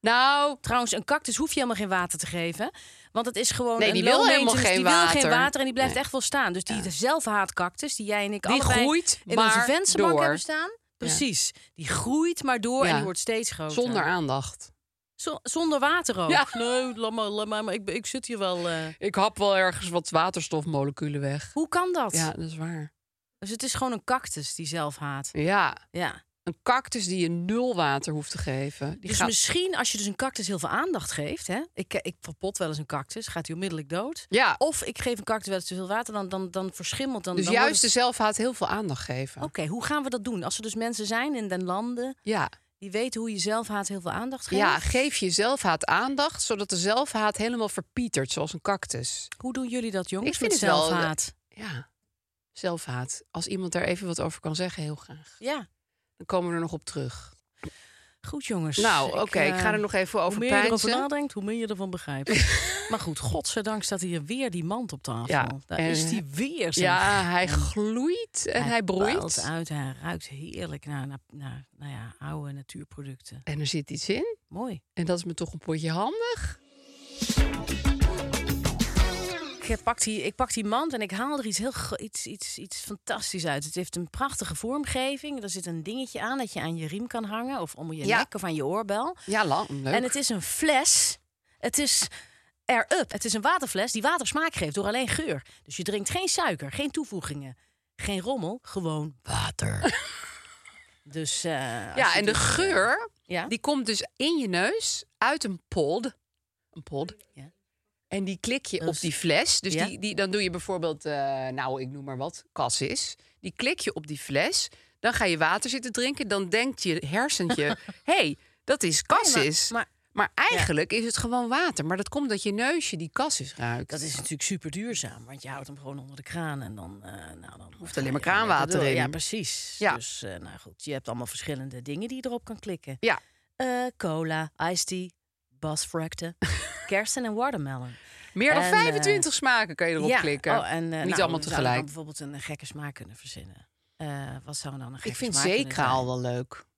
Speaker 1: nou,
Speaker 2: trouwens, een cactus hoef je helemaal geen water te geven. hè? Want het is gewoon
Speaker 1: Nee,
Speaker 2: een
Speaker 1: die wil
Speaker 2: low
Speaker 1: helemaal
Speaker 2: maintenance,
Speaker 1: geen
Speaker 2: die wil
Speaker 1: water.
Speaker 2: geen water en die blijft
Speaker 1: Nee.
Speaker 2: echt wel staan. Dus die zelfhaatcactus, die jij en ik
Speaker 1: die
Speaker 2: allebei
Speaker 1: groeit
Speaker 2: in onze
Speaker 1: maar
Speaker 2: vensterbank
Speaker 1: door.
Speaker 2: hebben staan. Precies. Die groeit maar door en
Speaker 1: Ja.
Speaker 2: die wordt steeds groter.
Speaker 1: Zonder aandacht.
Speaker 2: Zo- zonder water ook.
Speaker 1: Ja.
Speaker 2: Nee, laat maar, laat maar, maar ik, ik zit hier wel... eh.
Speaker 1: Ik hap wel ergens wat waterstofmoleculen weg.
Speaker 2: Hoe kan dat?
Speaker 1: Ja, dat is waar.
Speaker 2: Dus het is gewoon een cactus die zelf haat.
Speaker 1: Ja,
Speaker 2: Ja.
Speaker 1: een cactus die je nul water hoeft te geven. Die
Speaker 2: dus
Speaker 1: gaat...
Speaker 2: misschien als je dus een cactus heel veel aandacht geeft... Hè? Ik, ik verpot wel eens een cactus, gaat hij onmiddellijk dood.
Speaker 1: Ja,
Speaker 2: Of ik geef een cactus wel eens te veel water, dan, dan, dan verschimmelt... Oh, Dan, Oh.
Speaker 1: dus
Speaker 2: dan wordt
Speaker 1: juist
Speaker 2: het-
Speaker 1: de zelfhaat heel veel aandacht geven.
Speaker 2: Oké, hoe gaan we dat doen? Als er dus mensen zijn in den landen
Speaker 1: Ja.
Speaker 2: die weten hoe je zelfhaat heel veel aandacht geeft.
Speaker 1: ja, geef je zelfhaat aandacht, zodat de zelfhaat helemaal verpietert, zoals een cactus.
Speaker 2: Hoe doen jullie dat, jongens,
Speaker 1: Ik vind
Speaker 2: met
Speaker 1: het wel- eh,
Speaker 2: zelfhaat?
Speaker 1: Ja, zelfhaat. Als iemand daar even wat over kan zeggen, heel graag.
Speaker 2: Ja,
Speaker 1: Dan komen we er nog op terug.
Speaker 2: goed jongens.
Speaker 1: Nou, oké, ik ga
Speaker 2: eh,
Speaker 1: er nog even over
Speaker 2: Hoe meer je erover
Speaker 1: peinzen.
Speaker 2: nadenkt, hoe meer je ervan begrijpt. maar goed, godzijdank staat hier weer die mand op tafel.
Speaker 1: Ja,
Speaker 2: Daar
Speaker 1: en-
Speaker 2: is die weer. zeg.
Speaker 1: Ja, hij gloeit en hij,
Speaker 2: puilt
Speaker 1: broeit.
Speaker 2: uit, hij ruikt heerlijk naar, naar, naar nou ja, oude natuurproducten.
Speaker 1: En er zit iets in.
Speaker 2: Mooi.
Speaker 1: En dat is me toch een potje handig.
Speaker 2: Ik eh, pak, die, ik pak die mand en ik haal er iets heel gro- iets, iets, iets fantastisch uit. Het heeft een prachtige vormgeving. Er zit een dingetje aan dat je aan je riem kan hangen. Of om je
Speaker 1: Ja.
Speaker 2: nek of aan je oorbel.
Speaker 1: Ja, lang. Leuk.
Speaker 2: En het is een fles. Het is er up. Het is een waterfles die watersmaak geeft door alleen geur. Dus je drinkt geen suiker, geen toevoegingen, geen rommel, gewoon water. dus eh,
Speaker 1: ja,
Speaker 2: als je
Speaker 1: en de
Speaker 2: dus, eh,
Speaker 1: geur,
Speaker 2: ja.
Speaker 1: die komt dus in je neus uit een pod. Een pod.
Speaker 2: Ja.
Speaker 1: En die klik je op
Speaker 2: Dus-
Speaker 1: die fles. Dus
Speaker 2: Ja.
Speaker 1: die, die, dan doe je bijvoorbeeld, eh, nou, ik noem maar wat, cassis. Die klik je op die fles. Dan ga je water zitten drinken. Dan denkt je hersentje, hey, dat is cassis.
Speaker 2: maar-
Speaker 1: maar, eigenlijk is het gewoon water. Maar dat komt dat je neusje die cassis ruikt.
Speaker 2: Dat is natuurlijk super duurzaam, want je houdt hem gewoon onder de kraan en dan, eh, nou, dan
Speaker 1: Hoeft alleen maar
Speaker 2: ga je gewoon
Speaker 1: kraanwater
Speaker 2: lekker door.
Speaker 1: in.
Speaker 2: Ja, precies.
Speaker 1: Ja.
Speaker 2: Dus eh, nou goed, je hebt allemaal verschillende dingen die je erop kan klikken.
Speaker 1: Ja.
Speaker 2: Eh, cola, iced tea, basfracten, kersen en watermelon.
Speaker 1: Meer dan
Speaker 2: En, eh,
Speaker 1: 25 smaken kan je erop klikken.
Speaker 2: Oh, en, eh,
Speaker 1: Niet
Speaker 2: nou,
Speaker 1: allemaal
Speaker 2: we zouden dan
Speaker 1: tegelijk.
Speaker 2: bijvoorbeeld een eh, gekke smaak kunnen verzinnen. Eh, wat zou dan een gekke
Speaker 1: Ik vind
Speaker 2: smaak kunnen
Speaker 1: zeekraal
Speaker 2: zijn?
Speaker 1: wel leuk.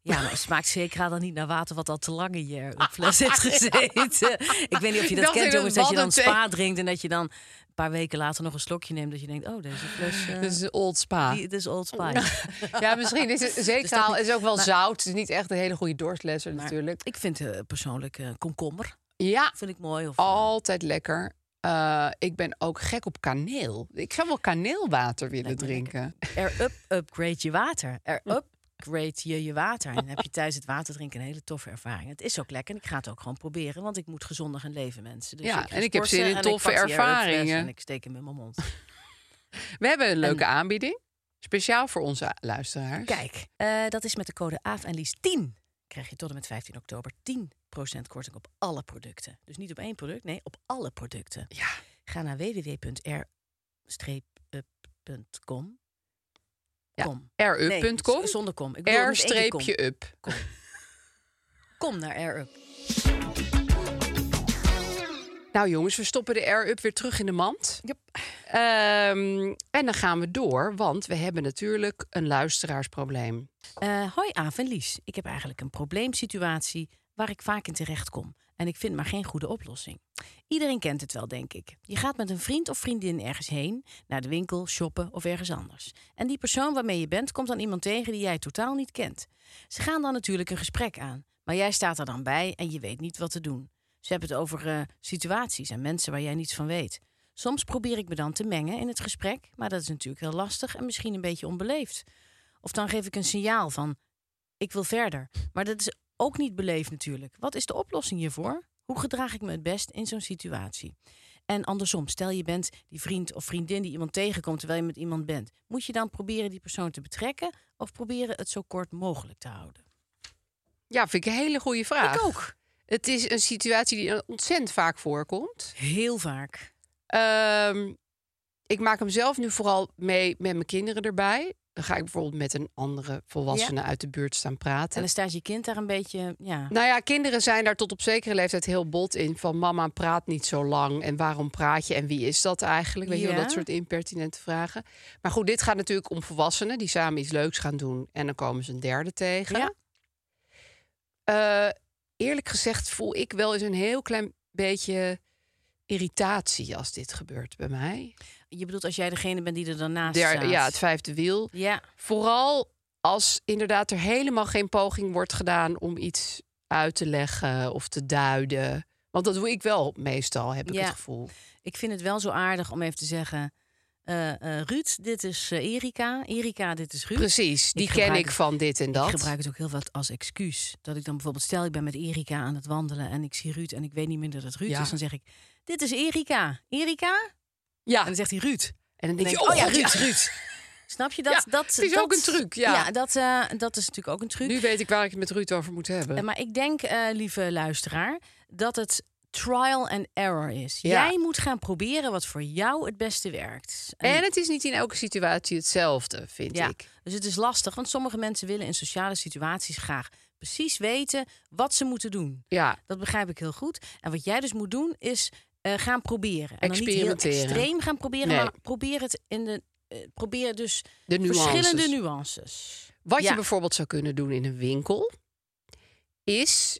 Speaker 2: Ja, maar het smaakt zeekraal dan niet naar water wat al te lang in je fles heeft gezeten. Ik weet niet of je dat
Speaker 1: Dacht
Speaker 2: kent,
Speaker 1: ik dat
Speaker 2: jongens, dat je dan
Speaker 1: baddenthee-
Speaker 2: spa drinkt en dat je dan een paar weken later nog een slokje neemt. Dat je denkt, oh, deze fles, eh,
Speaker 1: Dat is Old Spa.
Speaker 2: die, het is Old Spice.
Speaker 1: Dus- Ja, misschien is het zeekraal
Speaker 2: Dus niet-
Speaker 1: is ook wel zout. Het is niet echt een hele goede dorstlesser
Speaker 2: Maar
Speaker 1: natuurlijk.
Speaker 2: Ik vind eh, persoonlijk eh, komkommer,
Speaker 1: Ja,
Speaker 2: vind ik mooi. Of, eh,
Speaker 1: altijd lekker. Eh, ik ben ook gek op kaneel. Ik zou wel kaneelwater willen
Speaker 2: Lijkt me
Speaker 1: drinken.
Speaker 2: er up, upgrade je water. Er upgrade je je water. En dan heb je thuis het water drinken een hele toffe ervaring. Het is ook lekker en ik ga het ook gewoon proberen, want ik moet gezonder gaan leven, mensen. Dus
Speaker 1: Ja,
Speaker 2: ik ga
Speaker 1: en ik heb zin
Speaker 2: sporten
Speaker 1: in
Speaker 2: en
Speaker 1: toffe
Speaker 2: pak die Air Up fles
Speaker 1: ervaringen.
Speaker 2: En ik steek hem in mijn mond.
Speaker 1: We hebben een leuke aanbieding. Speciaal voor onze luisteraars.
Speaker 2: Kijk, eh, dat is met de code AAF en Lies 10. Krijg je tot en met 15 oktober 10% korting op alle producten. Dus niet op één product, nee, op alle producten.
Speaker 1: Ja.
Speaker 2: Ga naar www.r-up.com.
Speaker 1: Ja, Eh,
Speaker 2: Kom. Nee,
Speaker 1: rup.com.
Speaker 2: z- zonder kom. Ik bedoel, met één keer kom.
Speaker 1: R-up.
Speaker 2: Kom naar r
Speaker 1: Nou jongens, we stoppen de R-up weer terug in de mand. Ehm, en dan gaan we door, want we hebben natuurlijk een luisteraarsprobleem.
Speaker 2: Eh, hoi Aaf en Lies. Ik heb eigenlijk een probleemsituatie. waar ik vaak in terecht kom. En ik vind maar geen goede oplossing. Iedereen kent het wel, denk ik. Je gaat met een vriend of vriendin ergens heen, naar de winkel, shoppen of ergens anders. En die persoon waarmee je bent komt dan iemand tegen die jij totaal niet kent. Ze gaan dan natuurlijk een gesprek aan, maar jij staat er dan bij en je weet niet wat te doen. Ze hebben het over eh, situaties en mensen waar jij niets van weet. Soms probeer ik me dan te mengen in het gesprek, maar dat is natuurlijk heel lastig en misschien een beetje onbeleefd. Of dan geef ik een signaal van: ik wil verder. Maar dat is ook niet beleefd natuurlijk. Wat is de oplossing hiervoor? Hoe gedraag ik me het best in zo'n situatie? En andersom, stel je bent die vriend of vriendin die iemand tegenkomt terwijl je met iemand bent. Moet je dan proberen die persoon te betrekken of proberen het zo kort mogelijk te houden?
Speaker 1: Ja, vind ik een hele goede vraag.
Speaker 2: Ik ook.
Speaker 1: Het is een situatie die ontzettend vaak voorkomt.
Speaker 2: Heel vaak.
Speaker 1: Ehm, ik maak hem zelf nu vooral mee met mijn kinderen erbij. Dan ga ik bijvoorbeeld met een andere volwassene uit de buurt staan
Speaker 2: En
Speaker 1: praten.
Speaker 2: dan staat je kind daar een beetje, ja.
Speaker 1: Nou ja, kinderen zijn daar tot op zekere leeftijd heel bot in. Van mama praat niet zo lang en waarom praat je en wie is dat eigenlijk? Weet je wel,
Speaker 2: Ja.
Speaker 1: dat soort impertinente vragen. Maar goed, dit gaat natuurlijk om volwassenen die samen iets leuks gaan doen. En dan komen ze een derde tegen.
Speaker 2: Ja.
Speaker 1: Eh, eerlijk gezegd voel ik wel eens een heel klein beetje irritatie als dit gebeurt bij mij.
Speaker 2: Je bedoelt als jij degene bent die er daarnaast
Speaker 1: Der-
Speaker 2: staat.
Speaker 1: ja, het vijfde wiel.
Speaker 2: Ja,
Speaker 1: Vooral als inderdaad er helemaal geen poging wordt gedaan om iets uit te leggen of te duiden. Want dat doe ik wel meestal, heb ik
Speaker 2: Ja.
Speaker 1: het gevoel.
Speaker 2: ik vind het wel zo aardig om even te zeggen... eh, eh, Ruud, dit is eh, Erika. Erika, dit is Ruud.
Speaker 1: Precies, die ken
Speaker 2: gebruik
Speaker 1: ik
Speaker 2: het-
Speaker 1: van dit en dat.
Speaker 2: Ik gebruik het ook heel wat als excuus. Dat ik dan bijvoorbeeld, stel ik ben met Erika aan het wandelen... en ik zie Ruud en ik weet niet meer dat het Ruud
Speaker 1: Ja.
Speaker 2: is. Dan zeg ik, dit is Erika. Erika?
Speaker 1: Ja,
Speaker 2: En dan zegt hij Ruud.
Speaker 1: en dan
Speaker 2: Dan
Speaker 1: denk
Speaker 2: denk
Speaker 1: je,
Speaker 2: ik,
Speaker 1: oh ja, Ruud,
Speaker 2: Ruud. Snap je? Dat,
Speaker 1: Ja,
Speaker 2: dat,
Speaker 1: het is
Speaker 2: dat-
Speaker 1: ook een truc, ja.
Speaker 2: dat, eh, dat is natuurlijk ook een truc.
Speaker 1: Nu weet ik waar ik het met Ruud over moet hebben.
Speaker 2: Eh, Maar ik denk, eh, lieve luisteraar, dat het trial and error is.
Speaker 1: Ja.
Speaker 2: Jij moet gaan proberen wat voor jou het beste werkt.
Speaker 1: En het is niet in elke situatie hetzelfde, vind
Speaker 2: ja,
Speaker 1: ik.
Speaker 2: dus het is lastig, want sommige mensen willen in sociale situaties graag precies weten wat ze moeten doen.
Speaker 1: Ja,
Speaker 2: Dat begrijp ik heel goed. En wat jij dus moet doen is eh, gaan proberen. En dan niet heel
Speaker 1: Experimenteren.
Speaker 2: extreem gaan proberen,
Speaker 1: Nee.
Speaker 2: maar probeer het in de eh, probeer dus
Speaker 1: de nuances.
Speaker 2: verschillende nuances.
Speaker 1: Wat
Speaker 2: Ja.
Speaker 1: je bijvoorbeeld zou kunnen doen in een winkel is: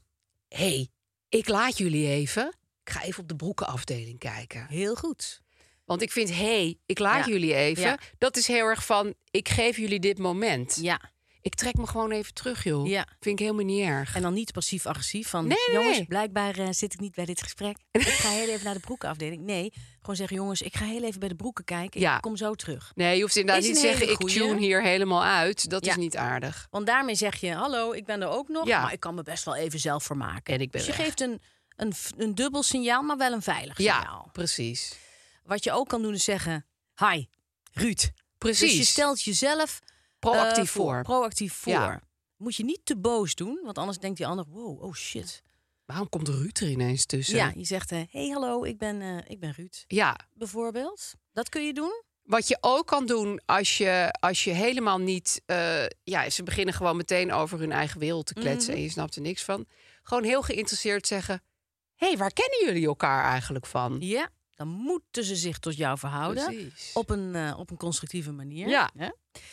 Speaker 1: hé, hey, ik laat jullie even. Ik ga even op de broekenafdeling kijken.
Speaker 2: Heel goed.
Speaker 1: Want ik vind, hé, hey, ik laat
Speaker 2: Ja.
Speaker 1: jullie even.
Speaker 2: Ja.
Speaker 1: Dat is heel erg van, ik geef jullie dit moment.
Speaker 2: Ja.
Speaker 1: Ik trek me gewoon even terug, joh.
Speaker 2: Ja.
Speaker 1: Vind ik helemaal niet erg.
Speaker 2: En dan niet passief-agressief van...
Speaker 1: Nee, nee,
Speaker 2: jongens,
Speaker 1: nee.
Speaker 2: blijkbaar eh, zit ik niet bij dit gesprek. Ik ga heel even naar de broekenafdeling. Nee, gewoon zeggen, jongens, ik ga heel even bij de broeken kijken.
Speaker 1: Ja.
Speaker 2: Ik kom zo terug.
Speaker 1: Nee, je hoeft inderdaad
Speaker 2: Is
Speaker 1: niet te
Speaker 2: een
Speaker 1: zeggen,
Speaker 2: hele
Speaker 1: ik
Speaker 2: goeie.
Speaker 1: tune hier helemaal uit. Dat
Speaker 2: Ja.
Speaker 1: is niet aardig.
Speaker 2: Want daarmee zeg je, hallo, ik ben er ook nog.
Speaker 1: Ja.
Speaker 2: Maar ik kan me best wel even zelf vermaken.
Speaker 1: En ik ben
Speaker 2: dus je
Speaker 1: weg.
Speaker 2: geeft een, een, v- een dubbel signaal, maar wel een veilig signaal.
Speaker 1: Ja, precies.
Speaker 2: Dus Wat je ook kan doen is zeggen, hi, Ruud.
Speaker 1: Precies.
Speaker 2: Dus je stelt jezelf
Speaker 1: Proactief
Speaker 2: eh,
Speaker 1: voor.
Speaker 2: Proactief voor.
Speaker 1: Ja.
Speaker 2: Moet je niet te boos doen, want anders denkt die ander, wow, oh shit.
Speaker 1: Waarom komt Ruud er ineens tussen?
Speaker 2: Ja, je zegt, hé, hey, hallo, ik ben, eh, ik ben Ruud.
Speaker 1: ja.
Speaker 2: bijvoorbeeld. Dat kun je doen.
Speaker 1: Wat je ook kan doen als je, als je helemaal niet. eh, ja, ze beginnen gewoon meteen over hun eigen wereld te kletsen
Speaker 2: Mhm.
Speaker 1: en je snapt er niks van. Gewoon heel geïnteresseerd zeggen: Hé, hey, waar kennen jullie elkaar eigenlijk van?
Speaker 2: Ja. Dan moeten ze zich tot jou verhouden.
Speaker 1: Precies.
Speaker 2: Op een, eh, op een constructieve manier.
Speaker 1: Ja.
Speaker 2: Hè?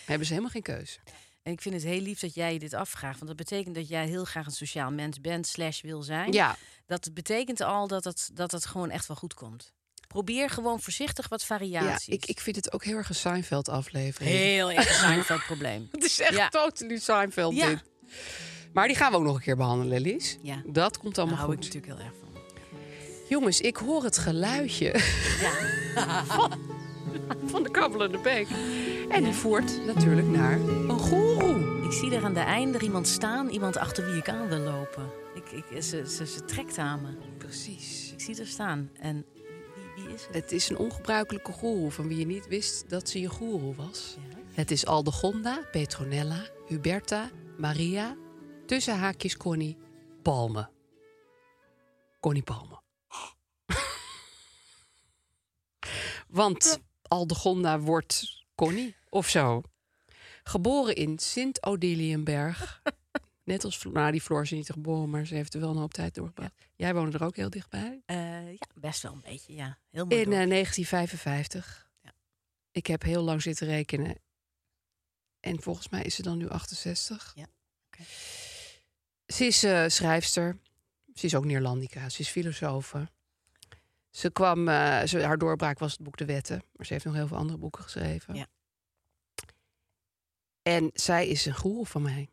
Speaker 1: Hebben ze helemaal geen keus.
Speaker 2: En ik vind het heel lief dat jij je dit afvraagt. Want dat betekent dat jij heel graag een sociaal mens bent, slash wil zijn.
Speaker 1: Ja,
Speaker 2: Dat betekent al dat het, dat het gewoon echt wel goed komt. Probeer gewoon voorzichtig wat
Speaker 1: ja
Speaker 2: variaties.
Speaker 1: ik, ik vind het ook heel erg een Seinfeld-aflevering.
Speaker 2: Heel interessant dat probleem.
Speaker 1: Het is echt
Speaker 2: Ja.
Speaker 1: totally Seinfeld.
Speaker 2: Ja.
Speaker 1: Dit. Maar die gaan we ook nog een keer behandelen, Lies.
Speaker 2: Ja.
Speaker 1: Dat komt
Speaker 2: Daar
Speaker 1: allemaal
Speaker 2: hou ik
Speaker 1: goed.
Speaker 2: natuurlijk heel erg van.
Speaker 1: Jongens, ik hoor het geluidje
Speaker 2: Ja.
Speaker 1: van de kabbelende beek. En die voert natuurlijk naar een goeroe.
Speaker 2: Ik zie daar aan de einder iemand staan. Iemand achter wie ik aan wil lopen. Ik, ik, ze, ze, ze trekt aan me.
Speaker 1: Precies.
Speaker 2: Ik zie er staan. En wie, wie is het?
Speaker 1: Het is een ongebruikelijke goeroe van wie je niet wist dat ze je goeroe was. Het is Aldegonda, Petronella, Huberta, Maria, tussen haakjes Connie, Palme. Connie Palme. Want Aldegonda wordt Connie of zo. Geboren in Sint-Odiliënberg. Net als Floor. Nou, die Floor is niet geboren, maar ze heeft er wel een hoop tijd doorgebracht. Jij woonde er ook heel dichtbij.
Speaker 2: Eh, ja, best wel een beetje. Ja, heel mooi.
Speaker 1: In
Speaker 2: dorp.
Speaker 1: eh, 1955. Ik heb heel lang zitten rekenen. En volgens mij is ze dan nu 68.
Speaker 2: Ja, oké.
Speaker 1: Ze is eh, schrijfster, Ze is ook Neerlandica, ze is filosofe. Ze kwam, eh, ze, haar doorbraak was het boek De Wetten. Maar ze heeft nog heel veel andere boeken geschreven.
Speaker 2: Ja.
Speaker 1: En zij is een goeroe van mij.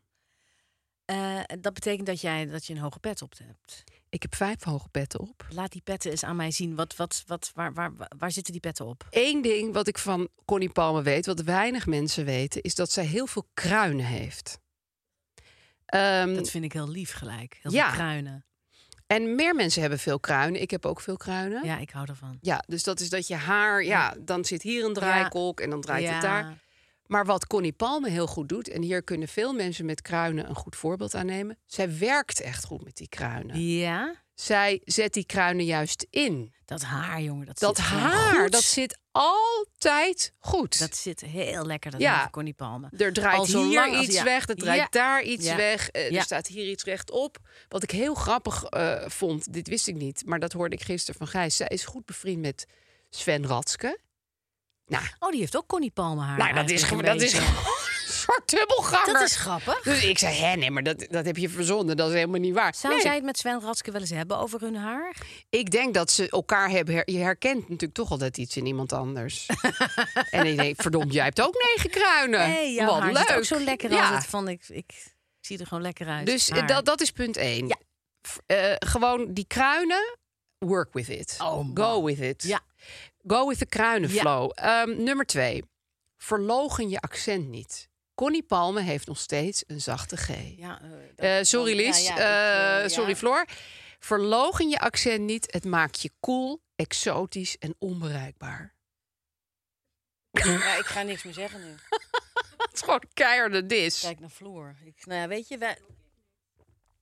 Speaker 2: Eh, dat betekent dat, jij, dat je een hoge pet op hebt.
Speaker 1: Ik heb vijf hoge petten op.
Speaker 2: Laat die petten eens aan mij zien. Wat, wat, wat, waar, waar, waar zitten die petten op?
Speaker 1: Eén ding wat ik van Connie Palmer weet, wat weinig mensen weten, is dat zij heel veel kruinen heeft. Ehm,
Speaker 2: Dat vind ik heel lief gelijk. Heel
Speaker 1: Ja.
Speaker 2: veel kruinen.
Speaker 1: En meer mensen hebben veel kruinen. Ik heb ook veel kruinen. Ja,
Speaker 2: Ja, ik hou ervan.
Speaker 1: dus dat is dat je haar, ja, dan zit hier een draaikolk en dan draait
Speaker 2: ja.
Speaker 1: het daar. Maar wat Connie Palme heel goed doet, en hier kunnen veel mensen met kruinen een goed voorbeeld aan nemen, zij werkt echt goed met die kruinen.
Speaker 2: Ja,
Speaker 1: Zij zet die kruinen juist in.
Speaker 2: dat haar, jongen. Dat,
Speaker 1: Dat
Speaker 2: zit gewoon
Speaker 1: haar,
Speaker 2: goed.
Speaker 1: dat zit altijd goed.
Speaker 2: Dat zit heel lekker, dat
Speaker 1: Ja.
Speaker 2: haar van Connie Palme.
Speaker 1: Er draait
Speaker 2: Al zo
Speaker 1: hier
Speaker 2: lang als-
Speaker 1: iets
Speaker 2: ja.
Speaker 1: weg, er draait
Speaker 2: Ja.
Speaker 1: daar iets
Speaker 2: Ja.
Speaker 1: weg, eh,
Speaker 2: Ja.
Speaker 1: er staat hier iets rechtop. Wat ik heel grappig eh, vond, dit wist ik niet, maar dat hoorde ik gisteren van Gijs. Zij is goed bevriend met Sven Ratske. Nou,
Speaker 2: Oh, die heeft ook Connie Palme haar.
Speaker 1: nou dat, is,
Speaker 2: eigenlijk
Speaker 1: gewoon-
Speaker 2: een
Speaker 1: dat is
Speaker 2: beetje.
Speaker 1: gewoon een soort dubbelganger.
Speaker 2: Dat is grappig.
Speaker 1: Dus ik zei, hè, nee, maar dat, dat heb je verzonnen, dat is helemaal niet waar.
Speaker 2: Zou
Speaker 1: Nee.
Speaker 2: zij het met Sven Ratske wel eens hebben over hun haar?
Speaker 1: Ik denk dat ze elkaar hebben... her- je herkent natuurlijk toch altijd iets in iemand anders. en ik denk, verdomd, jij hebt ook negen kruinen.
Speaker 2: Nee, jouw
Speaker 1: Eh, Wat
Speaker 2: haar
Speaker 1: leuk.
Speaker 2: zit ook zo lekker
Speaker 1: ja.
Speaker 2: altijd van ik, ik zie er gewoon lekker uit.
Speaker 1: Dus eh,
Speaker 2: Haar.
Speaker 1: dat, dat is punt één.
Speaker 2: Ja.
Speaker 1: F- eh, gewoon die kruinen, work with it.
Speaker 2: Oh, man.
Speaker 1: Go with it.
Speaker 2: Ja.
Speaker 1: Go with the
Speaker 2: Ja.
Speaker 1: kruinenflow. Ehm, nummer twee. Verlogen je accent niet. Connie Palme heeft nog steeds een zachte G.
Speaker 2: Ja, eh, dat-
Speaker 1: Eh, sorry
Speaker 2: dan- ja,
Speaker 1: Lies,
Speaker 2: ja, ik,
Speaker 1: Eh,
Speaker 2: eh,
Speaker 1: sorry
Speaker 2: ja.
Speaker 1: Floor. Verlogen je accent niet. Het maakt je cool, exotisch en onbereikbaar.
Speaker 2: Ja, ik ga niks meer zeggen nu.
Speaker 1: Dat is gewoon keiharde dis.
Speaker 2: Kijk naar Floor. Ik, nou ja, weet je, wij,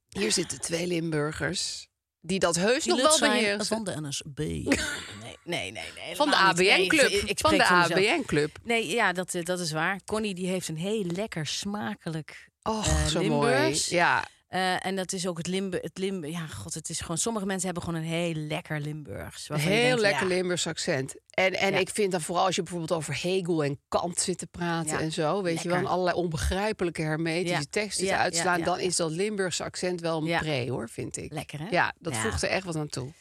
Speaker 1: Hier zitten twee Limburgers die dat heus
Speaker 2: die
Speaker 1: nog
Speaker 2: lul
Speaker 1: wel
Speaker 2: zijn
Speaker 1: beheersen.
Speaker 2: van de NSB. Nee, nee, nee. nee
Speaker 1: Van de
Speaker 2: helemaal niet. Nee,
Speaker 1: ABN-club.
Speaker 2: ik- ik
Speaker 1: Van
Speaker 2: spreek
Speaker 1: de
Speaker 2: voor mezelf.
Speaker 1: ABN-club.
Speaker 2: Nee, ja, dat, eh, dat is waar. Connie die heeft een heel lekker smakelijk
Speaker 1: Och,
Speaker 2: eh,
Speaker 1: zo mooi.
Speaker 2: Limburgs.
Speaker 1: Ja,
Speaker 2: Eh, en dat is ook het Limburg. Het Limburg. Ja, god, het is gewoon. Sommige mensen hebben gewoon een heel lekker Limburgs. waarvan je
Speaker 1: heel
Speaker 2: denkt,
Speaker 1: lekker
Speaker 2: ja,
Speaker 1: Limburgs accent. En, en
Speaker 2: Ja.
Speaker 1: ik vind dan vooral als je bijvoorbeeld over Hegel en Kant zit te praten
Speaker 2: Ja,
Speaker 1: en zo, weet je wel, en
Speaker 2: lekker.
Speaker 1: allerlei onbegrijpelijke hermetische
Speaker 2: Ja,
Speaker 1: teksten
Speaker 2: ja,
Speaker 1: te
Speaker 2: ja,
Speaker 1: uitslaan,
Speaker 2: ja,
Speaker 1: dan
Speaker 2: ja.
Speaker 1: is dat Limburgse accent wel een
Speaker 2: Ja.
Speaker 1: pre, hoor, vind ik.
Speaker 2: Lekker, hè?
Speaker 1: Ja, dat
Speaker 2: Ja.
Speaker 1: voegt er echt wat aan toe.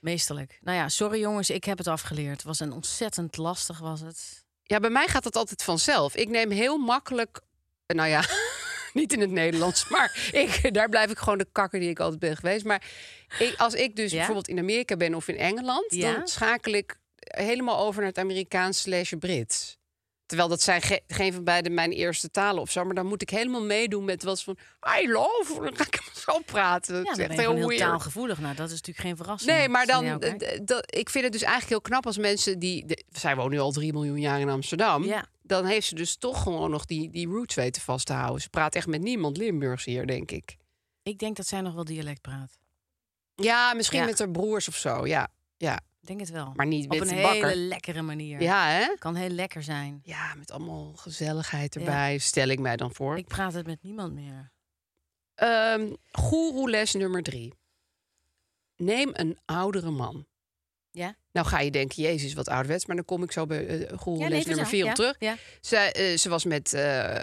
Speaker 2: Meesterlijk. Nou ja, sorry jongens, ik heb het afgeleerd. Het was een ontzettend lastig, was het.
Speaker 1: Ja, bij mij gaat dat altijd vanzelf. Ik neem heel makkelijk, eh, nou ja, niet in het Nederlands, maar ik, daar blijf ik gewoon de kakker die ik altijd ben geweest. Maar ik, als ik dus
Speaker 2: Ja?
Speaker 1: bijvoorbeeld in Amerika ben of in Engeland,
Speaker 2: Ja?
Speaker 1: dan schakel ik helemaal over naar het Amerikaans slash Brits. Terwijl dat zijn ge- geen van beide mijn eerste talen of zo. Maar dan moet ik helemaal meedoen met wat van... I love, dan ga ik hem zo praten.
Speaker 2: Ja,
Speaker 1: Dat
Speaker 2: dan
Speaker 1: is echt
Speaker 2: ben je
Speaker 1: heel
Speaker 2: gewoon heel
Speaker 1: weird.
Speaker 2: taalgevoelig. Nou, dat is natuurlijk geen verrassing.
Speaker 1: Nee, maar
Speaker 2: Als je
Speaker 1: dan,
Speaker 2: naar jou kijkt.
Speaker 1: eh, dat, ik vind het dus eigenlijk heel knap als mensen die. de- zij woont nu al drie miljoen jaar in Amsterdam.
Speaker 2: Ja.
Speaker 1: Dan heeft ze dus toch gewoon nog die, die roots weten vast te houden. Ze praat echt met niemand Limburgs hier, denk ik.
Speaker 2: Ik denk dat zij nog wel dialect praat.
Speaker 1: Ja, misschien
Speaker 2: Ja.
Speaker 1: met haar broers of zo. Ja, ja.
Speaker 2: Ik denk het wel.
Speaker 1: maar niet
Speaker 2: Op
Speaker 1: met
Speaker 2: een
Speaker 1: de
Speaker 2: hele
Speaker 1: bakker.
Speaker 2: lekkere manier.
Speaker 1: Ja, hè?
Speaker 2: Kan heel lekker zijn.
Speaker 1: Ja, met allemaal gezelligheid erbij, stel ik mij dan voor.
Speaker 2: Ik praat het met niemand meer.
Speaker 1: Ehm goeroe les nummer drie. Neem een oudere man.
Speaker 2: Ja?
Speaker 1: Nou ga je denken, jezus, wat ouderwets. Maar dan kom ik zo bij eh goeroe
Speaker 2: ja,
Speaker 1: les
Speaker 2: nee,
Speaker 1: nummer
Speaker 2: vertel.
Speaker 1: vier
Speaker 2: ja,
Speaker 1: op terug.
Speaker 2: Ja.
Speaker 1: Ze, eh, ze was met eh,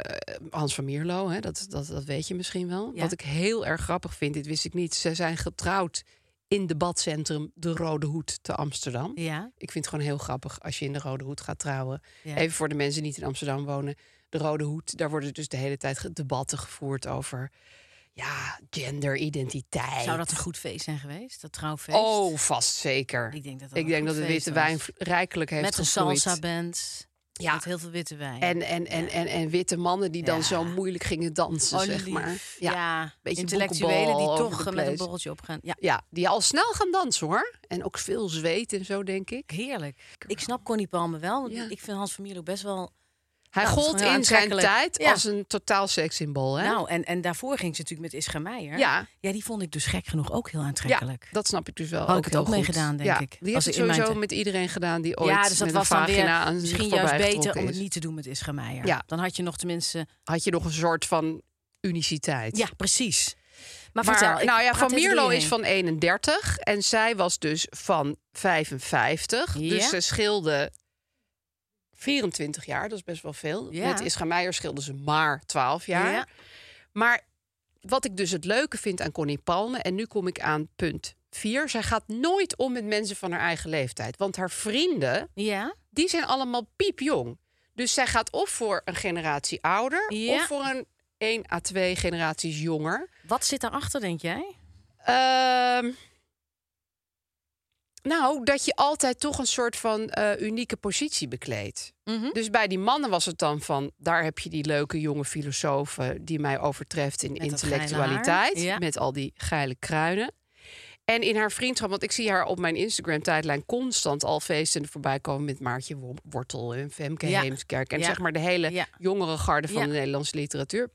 Speaker 1: Hans van Mierlo, hè? Dat, dat, dat weet je misschien wel.
Speaker 2: Ja.
Speaker 1: Wat ik heel erg grappig vind, dit wist ik niet. Ze zijn getrouwd in debatcentrum De Rode Hoed te Amsterdam.
Speaker 2: Ja.
Speaker 1: Ik vind het gewoon heel grappig als je in De Rode Hoed gaat trouwen.
Speaker 2: Ja.
Speaker 1: Even voor de mensen die niet in Amsterdam wonen. De Rode Hoed, daar worden dus de hele tijd ge- debatten gevoerd over... ja, genderidentiteit.
Speaker 2: Zou dat een goed feest zijn geweest? Dat trouwfeest?
Speaker 1: Oh, vast zeker.
Speaker 2: Ik denk dat dat
Speaker 1: ik
Speaker 2: een
Speaker 1: denk dat
Speaker 2: goed
Speaker 1: de
Speaker 2: feest
Speaker 1: witte
Speaker 2: was.
Speaker 1: wijn v- rijkelijk heeft
Speaker 2: Met een
Speaker 1: gegroeid.
Speaker 2: salsa band.
Speaker 1: Ja.
Speaker 2: Met heel veel witte wijn.
Speaker 1: En, en, en, en, en witte mannen die dan
Speaker 2: Ja.
Speaker 1: zo moeilijk gingen dansen,
Speaker 2: Oh,
Speaker 1: dus, zeg
Speaker 2: lief.
Speaker 1: maar.
Speaker 2: Ja,
Speaker 1: Ja. beetje
Speaker 2: intellectuelen die
Speaker 1: boekenbal over
Speaker 2: toch
Speaker 1: the
Speaker 2: eh, met een
Speaker 1: place.
Speaker 2: borreltje opgaan. Ja,
Speaker 1: ja, die al snel gaan dansen hoor. En ook veel zweet en zo, denk ik.
Speaker 2: heerlijk. Ik snap Connie Palme wel. Want
Speaker 1: Ja.
Speaker 2: ik vind Hans van Mierlo best wel...
Speaker 1: Hij
Speaker 2: Ja, Nou, dat is
Speaker 1: gold
Speaker 2: wel heel
Speaker 1: in zijn
Speaker 2: aantrekkelijk.
Speaker 1: tijd
Speaker 2: Ja.
Speaker 1: als een totaal sekssymbool, hè?
Speaker 2: Nou, en, en daarvoor ging ze natuurlijk met Ischa Meijer.
Speaker 1: Ja.
Speaker 2: ja, die vond ik dus gek genoeg ook heel
Speaker 1: ja,
Speaker 2: aantrekkelijk.
Speaker 1: dat snap ik dus wel.
Speaker 2: Had ik het
Speaker 1: heel
Speaker 2: ook mee
Speaker 1: goed.
Speaker 2: gedaan, denk
Speaker 1: Ja,
Speaker 2: ik.
Speaker 1: Die heeft
Speaker 2: Als
Speaker 1: het
Speaker 2: in mijn
Speaker 1: sowieso
Speaker 2: tijd.
Speaker 1: met iedereen gedaan die ooit
Speaker 2: ja, dus dat
Speaker 1: met een
Speaker 2: was dan weer
Speaker 1: vagina aan zich
Speaker 2: misschien juist
Speaker 1: voorbij
Speaker 2: beter
Speaker 1: getrokken
Speaker 2: om het
Speaker 1: is.
Speaker 2: niet te doen met Ischa Meijer.
Speaker 1: Ja.
Speaker 2: Dan had je nog tenminste...
Speaker 1: Had je nog een soort van uniciteit.
Speaker 2: Ja, precies. Maar,
Speaker 1: Maar,
Speaker 2: vertel, ik
Speaker 1: nou ja,
Speaker 2: praat
Speaker 1: Van
Speaker 2: tegen
Speaker 1: Mierlo
Speaker 2: iedereen.
Speaker 1: is van 31 en zij was dus van 55.
Speaker 2: Ja.
Speaker 1: Dus ze scheelde 24 jaar, dat is best wel veel.
Speaker 2: Ja.
Speaker 1: Met Ischa Meijer scheelde ze maar 12 jaar.
Speaker 2: Ja.
Speaker 1: Maar Wat ik dus het leuke vind aan Connie Palme, en nu kom ik aan punt 4. Zij gaat nooit om met mensen van haar eigen leeftijd. Want haar vrienden,
Speaker 2: Ja?
Speaker 1: die zijn allemaal piepjong. Dus zij gaat of voor een generatie ouder,
Speaker 2: Ja.
Speaker 1: of voor een 1 à 2 generaties jonger.
Speaker 2: Wat zit daarachter, denk jij?
Speaker 1: Ehm, nou, dat je altijd toch een soort van eh, unieke positie bekleedt.
Speaker 2: Mhm.
Speaker 1: Dus bij die mannen was het dan van... daar heb je die leuke jonge filosoof eh, die mij overtreft in
Speaker 2: Met dat geile
Speaker 1: intellectualiteit.
Speaker 2: haar, ja.
Speaker 1: Met al die geile kruinen. En in haar vriendschap, want ik zie haar op mijn Instagram-tijdlijn... constant al feesten voorbij komen met Maartje Wo- Wortel en Femke
Speaker 2: Ja.
Speaker 1: Heemskerk. En
Speaker 2: Ja.
Speaker 1: zeg maar de hele
Speaker 2: Ja.
Speaker 1: jongere garde van
Speaker 2: Ja.
Speaker 1: de Nederlandse literatuur.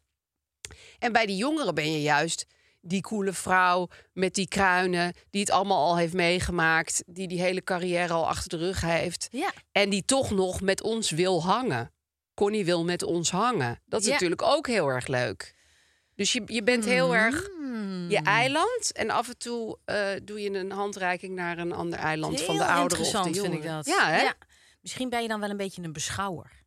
Speaker 1: En bij die jongeren ben je juist die coole vrouw met die kruinen... die het allemaal al heeft meegemaakt... die die hele carrière al achter de rug heeft...
Speaker 2: Ja.
Speaker 1: en die toch nog met ons wil hangen. Connie wil met ons hangen. Dat is
Speaker 2: Ja.
Speaker 1: natuurlijk ook heel erg leuk. Dus je, je bent heel
Speaker 2: Mm-hmm.
Speaker 1: erg je eiland... en af en toe eh, doe je een handreiking naar een ander eiland... van de
Speaker 2: Heel
Speaker 1: ouderen of de
Speaker 2: interessant vind ik
Speaker 1: jongeren.
Speaker 2: dat.
Speaker 1: Ja, hè? Ja.
Speaker 2: Misschien ben je dan wel een beetje een beschouwer.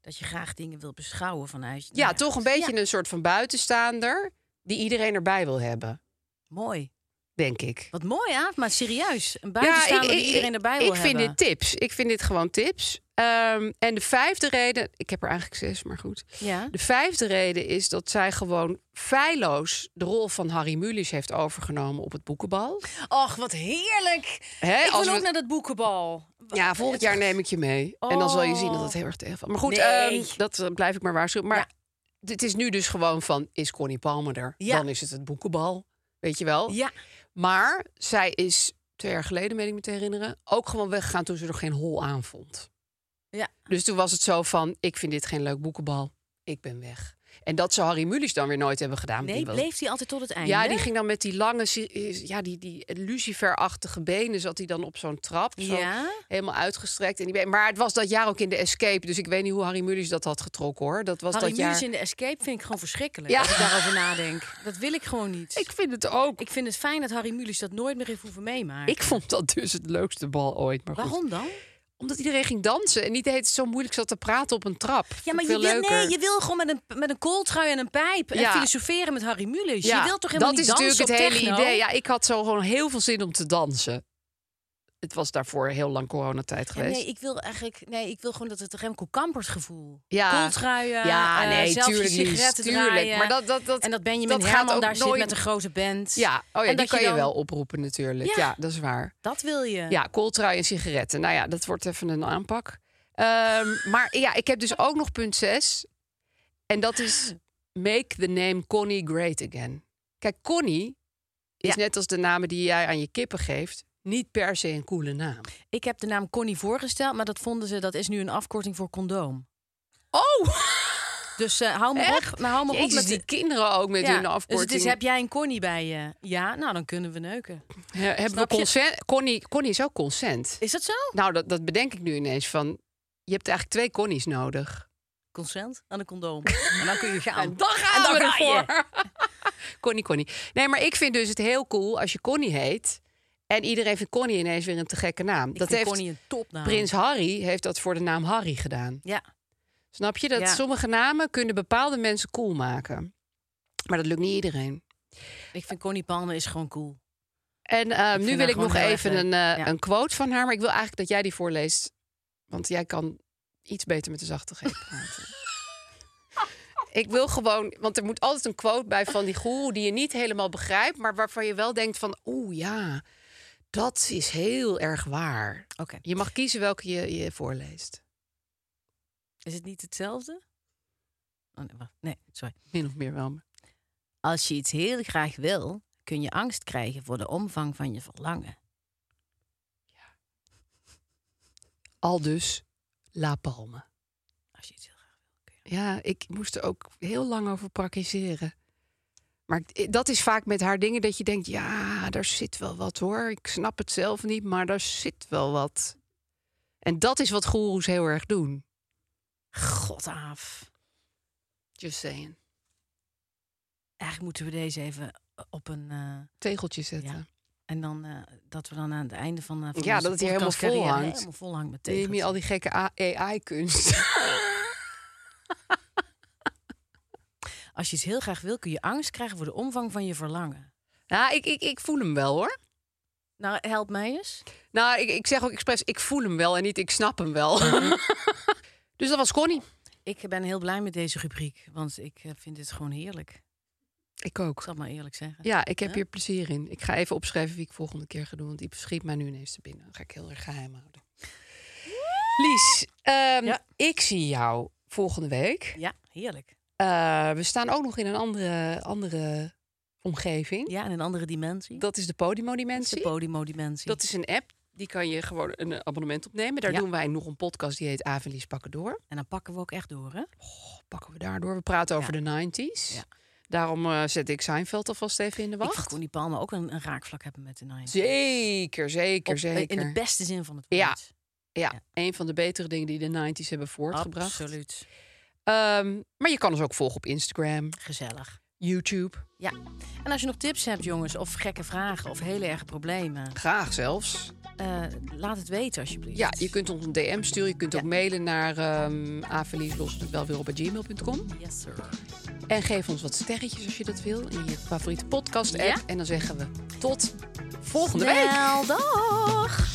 Speaker 2: Dat je graag dingen wil beschouwen vanuit...
Speaker 1: Ja,
Speaker 2: nou
Speaker 1: toch een beetje
Speaker 2: Ja,
Speaker 1: een soort van buitenstaander... die iedereen erbij wil hebben,
Speaker 2: Mooi.
Speaker 1: denk ik.
Speaker 2: Wat mooi, hè? Maar serieus. Een buitenstaander die iedereen erbij wil
Speaker 1: ik vind
Speaker 2: hebben.
Speaker 1: dit tips. Ik vind dit gewoon tips. Ehm, en de vijfde reden, ik heb er eigenlijk zes, maar goed.
Speaker 2: Ja.
Speaker 1: De vijfde reden is dat zij gewoon feilloos de rol van Harry Mulisch heeft overgenomen op het boekenbal.
Speaker 2: Och, wat heerlijk.
Speaker 1: Hè,
Speaker 2: ik wil
Speaker 1: als
Speaker 2: ook
Speaker 1: we-
Speaker 2: naar dat boekenbal.
Speaker 1: Ja, volgend jaar neem ik je mee. En dan zal je zien dat het heel erg tegenvalt. Maar goed,
Speaker 2: Oh. Nee.
Speaker 1: ehm, dat eh, blijf ik maar waarschuwen. Maar
Speaker 2: Ja.
Speaker 1: dit is nu dus gewoon van, is Connie Palmer er?
Speaker 2: Ja.
Speaker 1: Dan is het het boekenbal, weet je wel?
Speaker 2: Ja.
Speaker 1: Maar zij is, twee jaar geleden, meen ik me te herinneren... ook gewoon weggegaan toen ze er geen hol aan vond.
Speaker 2: Ja.
Speaker 1: Dus toen was het zo van, ik vind dit geen leuk boekenbal. Ik ben weg. En dat zou Harry Mulisch dan weer nooit hebben gedaan. want
Speaker 2: Nee,
Speaker 1: die was-
Speaker 2: bleef hij altijd tot het einde?
Speaker 1: Ja, die ging dan met die lange, si- is- ja, die, die luciferachtige benen... zat hij dan op zo'n trap, zo
Speaker 2: Ja.
Speaker 1: helemaal uitgestrekt. En die benen. Maar het was dat jaar ook in de Escape. Dus ik weet niet hoe Harry Mulisch dat had getrokken, hoor. Dat was
Speaker 2: Harry
Speaker 1: dat jaar...
Speaker 2: Mulisch in de Escape vind ik gewoon verschrikkelijk.
Speaker 1: Ja.
Speaker 2: Als ik daarover nadenk. Dat wil ik gewoon niet.
Speaker 1: Ik vind het ook. Ik,
Speaker 2: Ik vind het fijn dat Harry Mulisch dat nooit meer heeft hoeven meemaken.
Speaker 1: vond dat dus het leukste bal ooit. Maar goed.
Speaker 2: Waarom dan?
Speaker 1: Omdat iedereen ging dansen en niet de hele tijd zo moeilijk zat te praten op een trap.
Speaker 2: Ja,
Speaker 1: Vond
Speaker 2: maar
Speaker 1: ik
Speaker 2: je
Speaker 1: veel
Speaker 2: wil,
Speaker 1: leuker.
Speaker 2: nee, je wil gewoon met een, met een kooltrui en een pijp en
Speaker 1: Ja.
Speaker 2: filosoferen met Harry Mulisch.
Speaker 1: Ja,
Speaker 2: je wilt toch helemaal
Speaker 1: dat
Speaker 2: niet
Speaker 1: is
Speaker 2: dansen
Speaker 1: natuurlijk het
Speaker 2: op
Speaker 1: hele
Speaker 2: techno?
Speaker 1: idee. Ja, ik had zo gewoon heel veel zin om te dansen. Het was daarvoor heel lang coronatijd
Speaker 2: Ja,
Speaker 1: geweest.
Speaker 2: nee, ik wil eigenlijk, nee, ik wil gewoon dat het Remco Kampert gevoel.
Speaker 1: Ja.
Speaker 2: Kooltruien,
Speaker 1: Ja,
Speaker 2: eh,
Speaker 1: nee,
Speaker 2: zelf
Speaker 1: tuurlijk,
Speaker 2: je
Speaker 1: Lies,
Speaker 2: sigaretten
Speaker 1: tuurlijk.
Speaker 2: draaien.
Speaker 1: Maar dat- dat- dat-
Speaker 2: en dat Benjamin
Speaker 1: dat gaat
Speaker 2: Herman
Speaker 1: ook
Speaker 2: daar zit
Speaker 1: nooit-
Speaker 2: met een grote band.
Speaker 1: ja, oh ja
Speaker 2: En
Speaker 1: die
Speaker 2: dat
Speaker 1: kan je,
Speaker 2: dan-
Speaker 1: wel oproepen natuurlijk.
Speaker 2: Ja.
Speaker 1: Ja, dat is waar.
Speaker 2: Dat wil je.
Speaker 1: Ja, kooltrui en sigaretten. Nou ja, dat wordt even een aanpak. Ehm, maar ja, ik heb dus ook nog punt 6. En dat is make the name Connie great again. Kijk, Connie is net als de namen die jij aan je kippen geeft... niet per se een coole naam.
Speaker 2: Ik heb de naam Connie voorgesteld, maar dat vonden ze, dat is nu een afkorting voor condoom.
Speaker 1: Oh!
Speaker 2: Dus eh, hou me op, maar hou me op
Speaker 1: Jezus,
Speaker 2: met
Speaker 1: die kinderen ook met hun
Speaker 2: Dus
Speaker 1: afkorting.
Speaker 2: het is, heb jij een Connie bij je? Ja, nou dan kunnen we neuken.
Speaker 1: He- hebben we
Speaker 2: snap je?
Speaker 1: consent? Connie, Connie is ook consent.
Speaker 2: Is dat zo?
Speaker 1: Nou, dat, dat bedenk ik nu ineens van... je hebt eigenlijk twee Connies nodig.
Speaker 2: Consent aan een condoom. En dan kun je gaan.
Speaker 1: En dan gaan
Speaker 2: En
Speaker 1: we
Speaker 2: dan ga je.
Speaker 1: ervoor. Connie, Connie. Nee, maar ik vind dus het heel cool als je Connie heet... en iedereen vindt Connie ineens weer een te gekke naam.
Speaker 2: Ik
Speaker 1: dat
Speaker 2: vind
Speaker 1: heeft
Speaker 2: Connie een topnaam.
Speaker 1: Prins Harry heeft dat voor de naam Harry gedaan.
Speaker 2: Ja.
Speaker 1: Snap je? Dat
Speaker 2: Ja.
Speaker 1: sommige namen kunnen bepaalde mensen cool maken. Maar dat lukt niet iedereen.
Speaker 2: Ik vind Connie Palme is gewoon cool.
Speaker 1: En eh,
Speaker 2: vind
Speaker 1: nu
Speaker 2: haar
Speaker 1: wil ik
Speaker 2: gewoon
Speaker 1: nog
Speaker 2: heel erg
Speaker 1: even
Speaker 2: leuk.
Speaker 1: een, eh,
Speaker 2: Ja.
Speaker 1: een quote van haar. Maar ik wil eigenlijk dat jij die voorleest. Want jij kan iets beter met de zachte G praten. ik wil gewoon... Want er moet altijd een quote bij van die goeroe... die je niet helemaal begrijpt... maar waarvan je wel denkt van... oeh ja, dat is heel erg waar.
Speaker 2: Oké.
Speaker 1: Je mag kiezen welke je, je voorleest.
Speaker 2: Is het niet hetzelfde? Oh, nee, wacht. nee, sorry.
Speaker 1: Min of meer wel.
Speaker 2: Als je iets heel graag wil, kun je angst krijgen voor de omvang van je verlangen.
Speaker 1: Al dus La Palme.
Speaker 2: Als je iets heel graag
Speaker 1: Ja, ik moest er ook heel lang over praktiseren. Maar ik- dat is vaak met haar dingen dat je denkt... ja, daar zit wel wat hoor. Ik snap het zelf niet, maar daar zit wel wat. En dat is wat goeroes heel erg doen.
Speaker 2: God af.
Speaker 1: Just saying.
Speaker 2: Eigenlijk moeten we deze even op een. eh,
Speaker 1: Tegeltje zetten.
Speaker 2: en dan eh, dat we dan aan het einde van. eh, van
Speaker 1: Ja,
Speaker 2: onze
Speaker 1: dat het hier helemaal vol
Speaker 2: podcastcarrière
Speaker 1: hangt.
Speaker 2: Helemaal vol hangt met
Speaker 1: Ja, Neem je al
Speaker 2: tegeltjes.
Speaker 1: die gekke AI-kunst.
Speaker 2: Als als je iets heel graag wil, kun je angst krijgen voor de omvang van je verlangen.
Speaker 1: Nou, ik, ik, ik voel hem wel hoor.
Speaker 2: Nou, help mij eens.
Speaker 1: Nou, ik, ik zeg ook expres, ik voel hem wel en niet ik snap hem wel. dus dat was Connie.
Speaker 2: Ik ben heel blij met deze rubriek, want ik eh, vind dit gewoon heerlijk. Ik
Speaker 1: Ik ook.
Speaker 2: zal het maar eerlijk zeggen.
Speaker 1: Ja, ik heb
Speaker 2: Ja.
Speaker 1: hier plezier in. Ik ga even opschrijven wie ik volgende keer ga doen. Want die schiet mij nu ineens te binnen. Dat ga ik heel erg geheim houden. Lies, ehm,
Speaker 2: Ja.
Speaker 1: ik zie jou volgende week.
Speaker 2: Ja, heerlijk.
Speaker 1: Eh, we staan ook nog in een andere, andere omgeving.
Speaker 2: Ja, en een andere dimensie.
Speaker 1: Dat is de Podimo-dimensie.
Speaker 2: de Podimo-dimensie.
Speaker 1: Dat is een app. Die kan je gewoon een abonnement opnemen. Daar
Speaker 2: Ja.
Speaker 1: doen wij nog een podcast die heet Avelies pakken door.
Speaker 2: En dan pakken we ook echt door, hè?
Speaker 1: Wat pakken we daardoor? We praten over
Speaker 2: Ja.
Speaker 1: de 90s.
Speaker 2: Ja.
Speaker 1: Daarom eh, zet ik Seinfeld alvast even in de
Speaker 2: Ik vind
Speaker 1: wacht.
Speaker 2: Connie Palme ook een, een raakvlak hebben met de Nine.
Speaker 1: Zeker, zeker,
Speaker 2: Op- eh,
Speaker 1: zeker.
Speaker 2: In de beste zin van het woord.
Speaker 1: Ja, Ja,
Speaker 2: Ja.
Speaker 1: een van de betere dingen die de 90s hebben voortgebracht.
Speaker 2: Absoluut.
Speaker 1: Ehm, maar je kan ons ook volgen op Instagram,
Speaker 2: Gezellig.
Speaker 1: YouTube.
Speaker 2: Ja. En als je nog tips hebt, jongens, of gekke vragen of hele erge problemen,
Speaker 1: Graag zelfs.
Speaker 2: eh, laat het weten alsjeblieft.
Speaker 1: Ja, je kunt ons een DM sturen. Je kunt
Speaker 2: Ja.
Speaker 1: ook mailen naar ehm avelieslost.welwil.gmail.com.
Speaker 2: Yes, sir.
Speaker 1: En geef ons wat sterretjes als je dat wil in je favoriete podcast-app.
Speaker 2: Ja.
Speaker 1: En dan zeggen we tot volgende week.
Speaker 2: Wel, dag!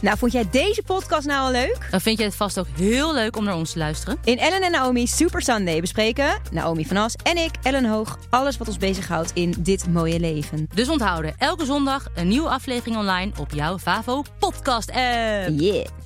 Speaker 3: Nou, vond jij deze podcast nou al leuk?
Speaker 4: Dan vind je het vast ook heel leuk om naar ons te luisteren.
Speaker 3: In Ellen en Naomi Super Sunday bespreken Naomi van As en ik, Ellen Hoog, alles wat ons bezighoudt in dit mooie leven.
Speaker 4: Dus onthouden, elke zondag een nieuwe aflevering online op jouw Favo podcast app.
Speaker 3: Yeah.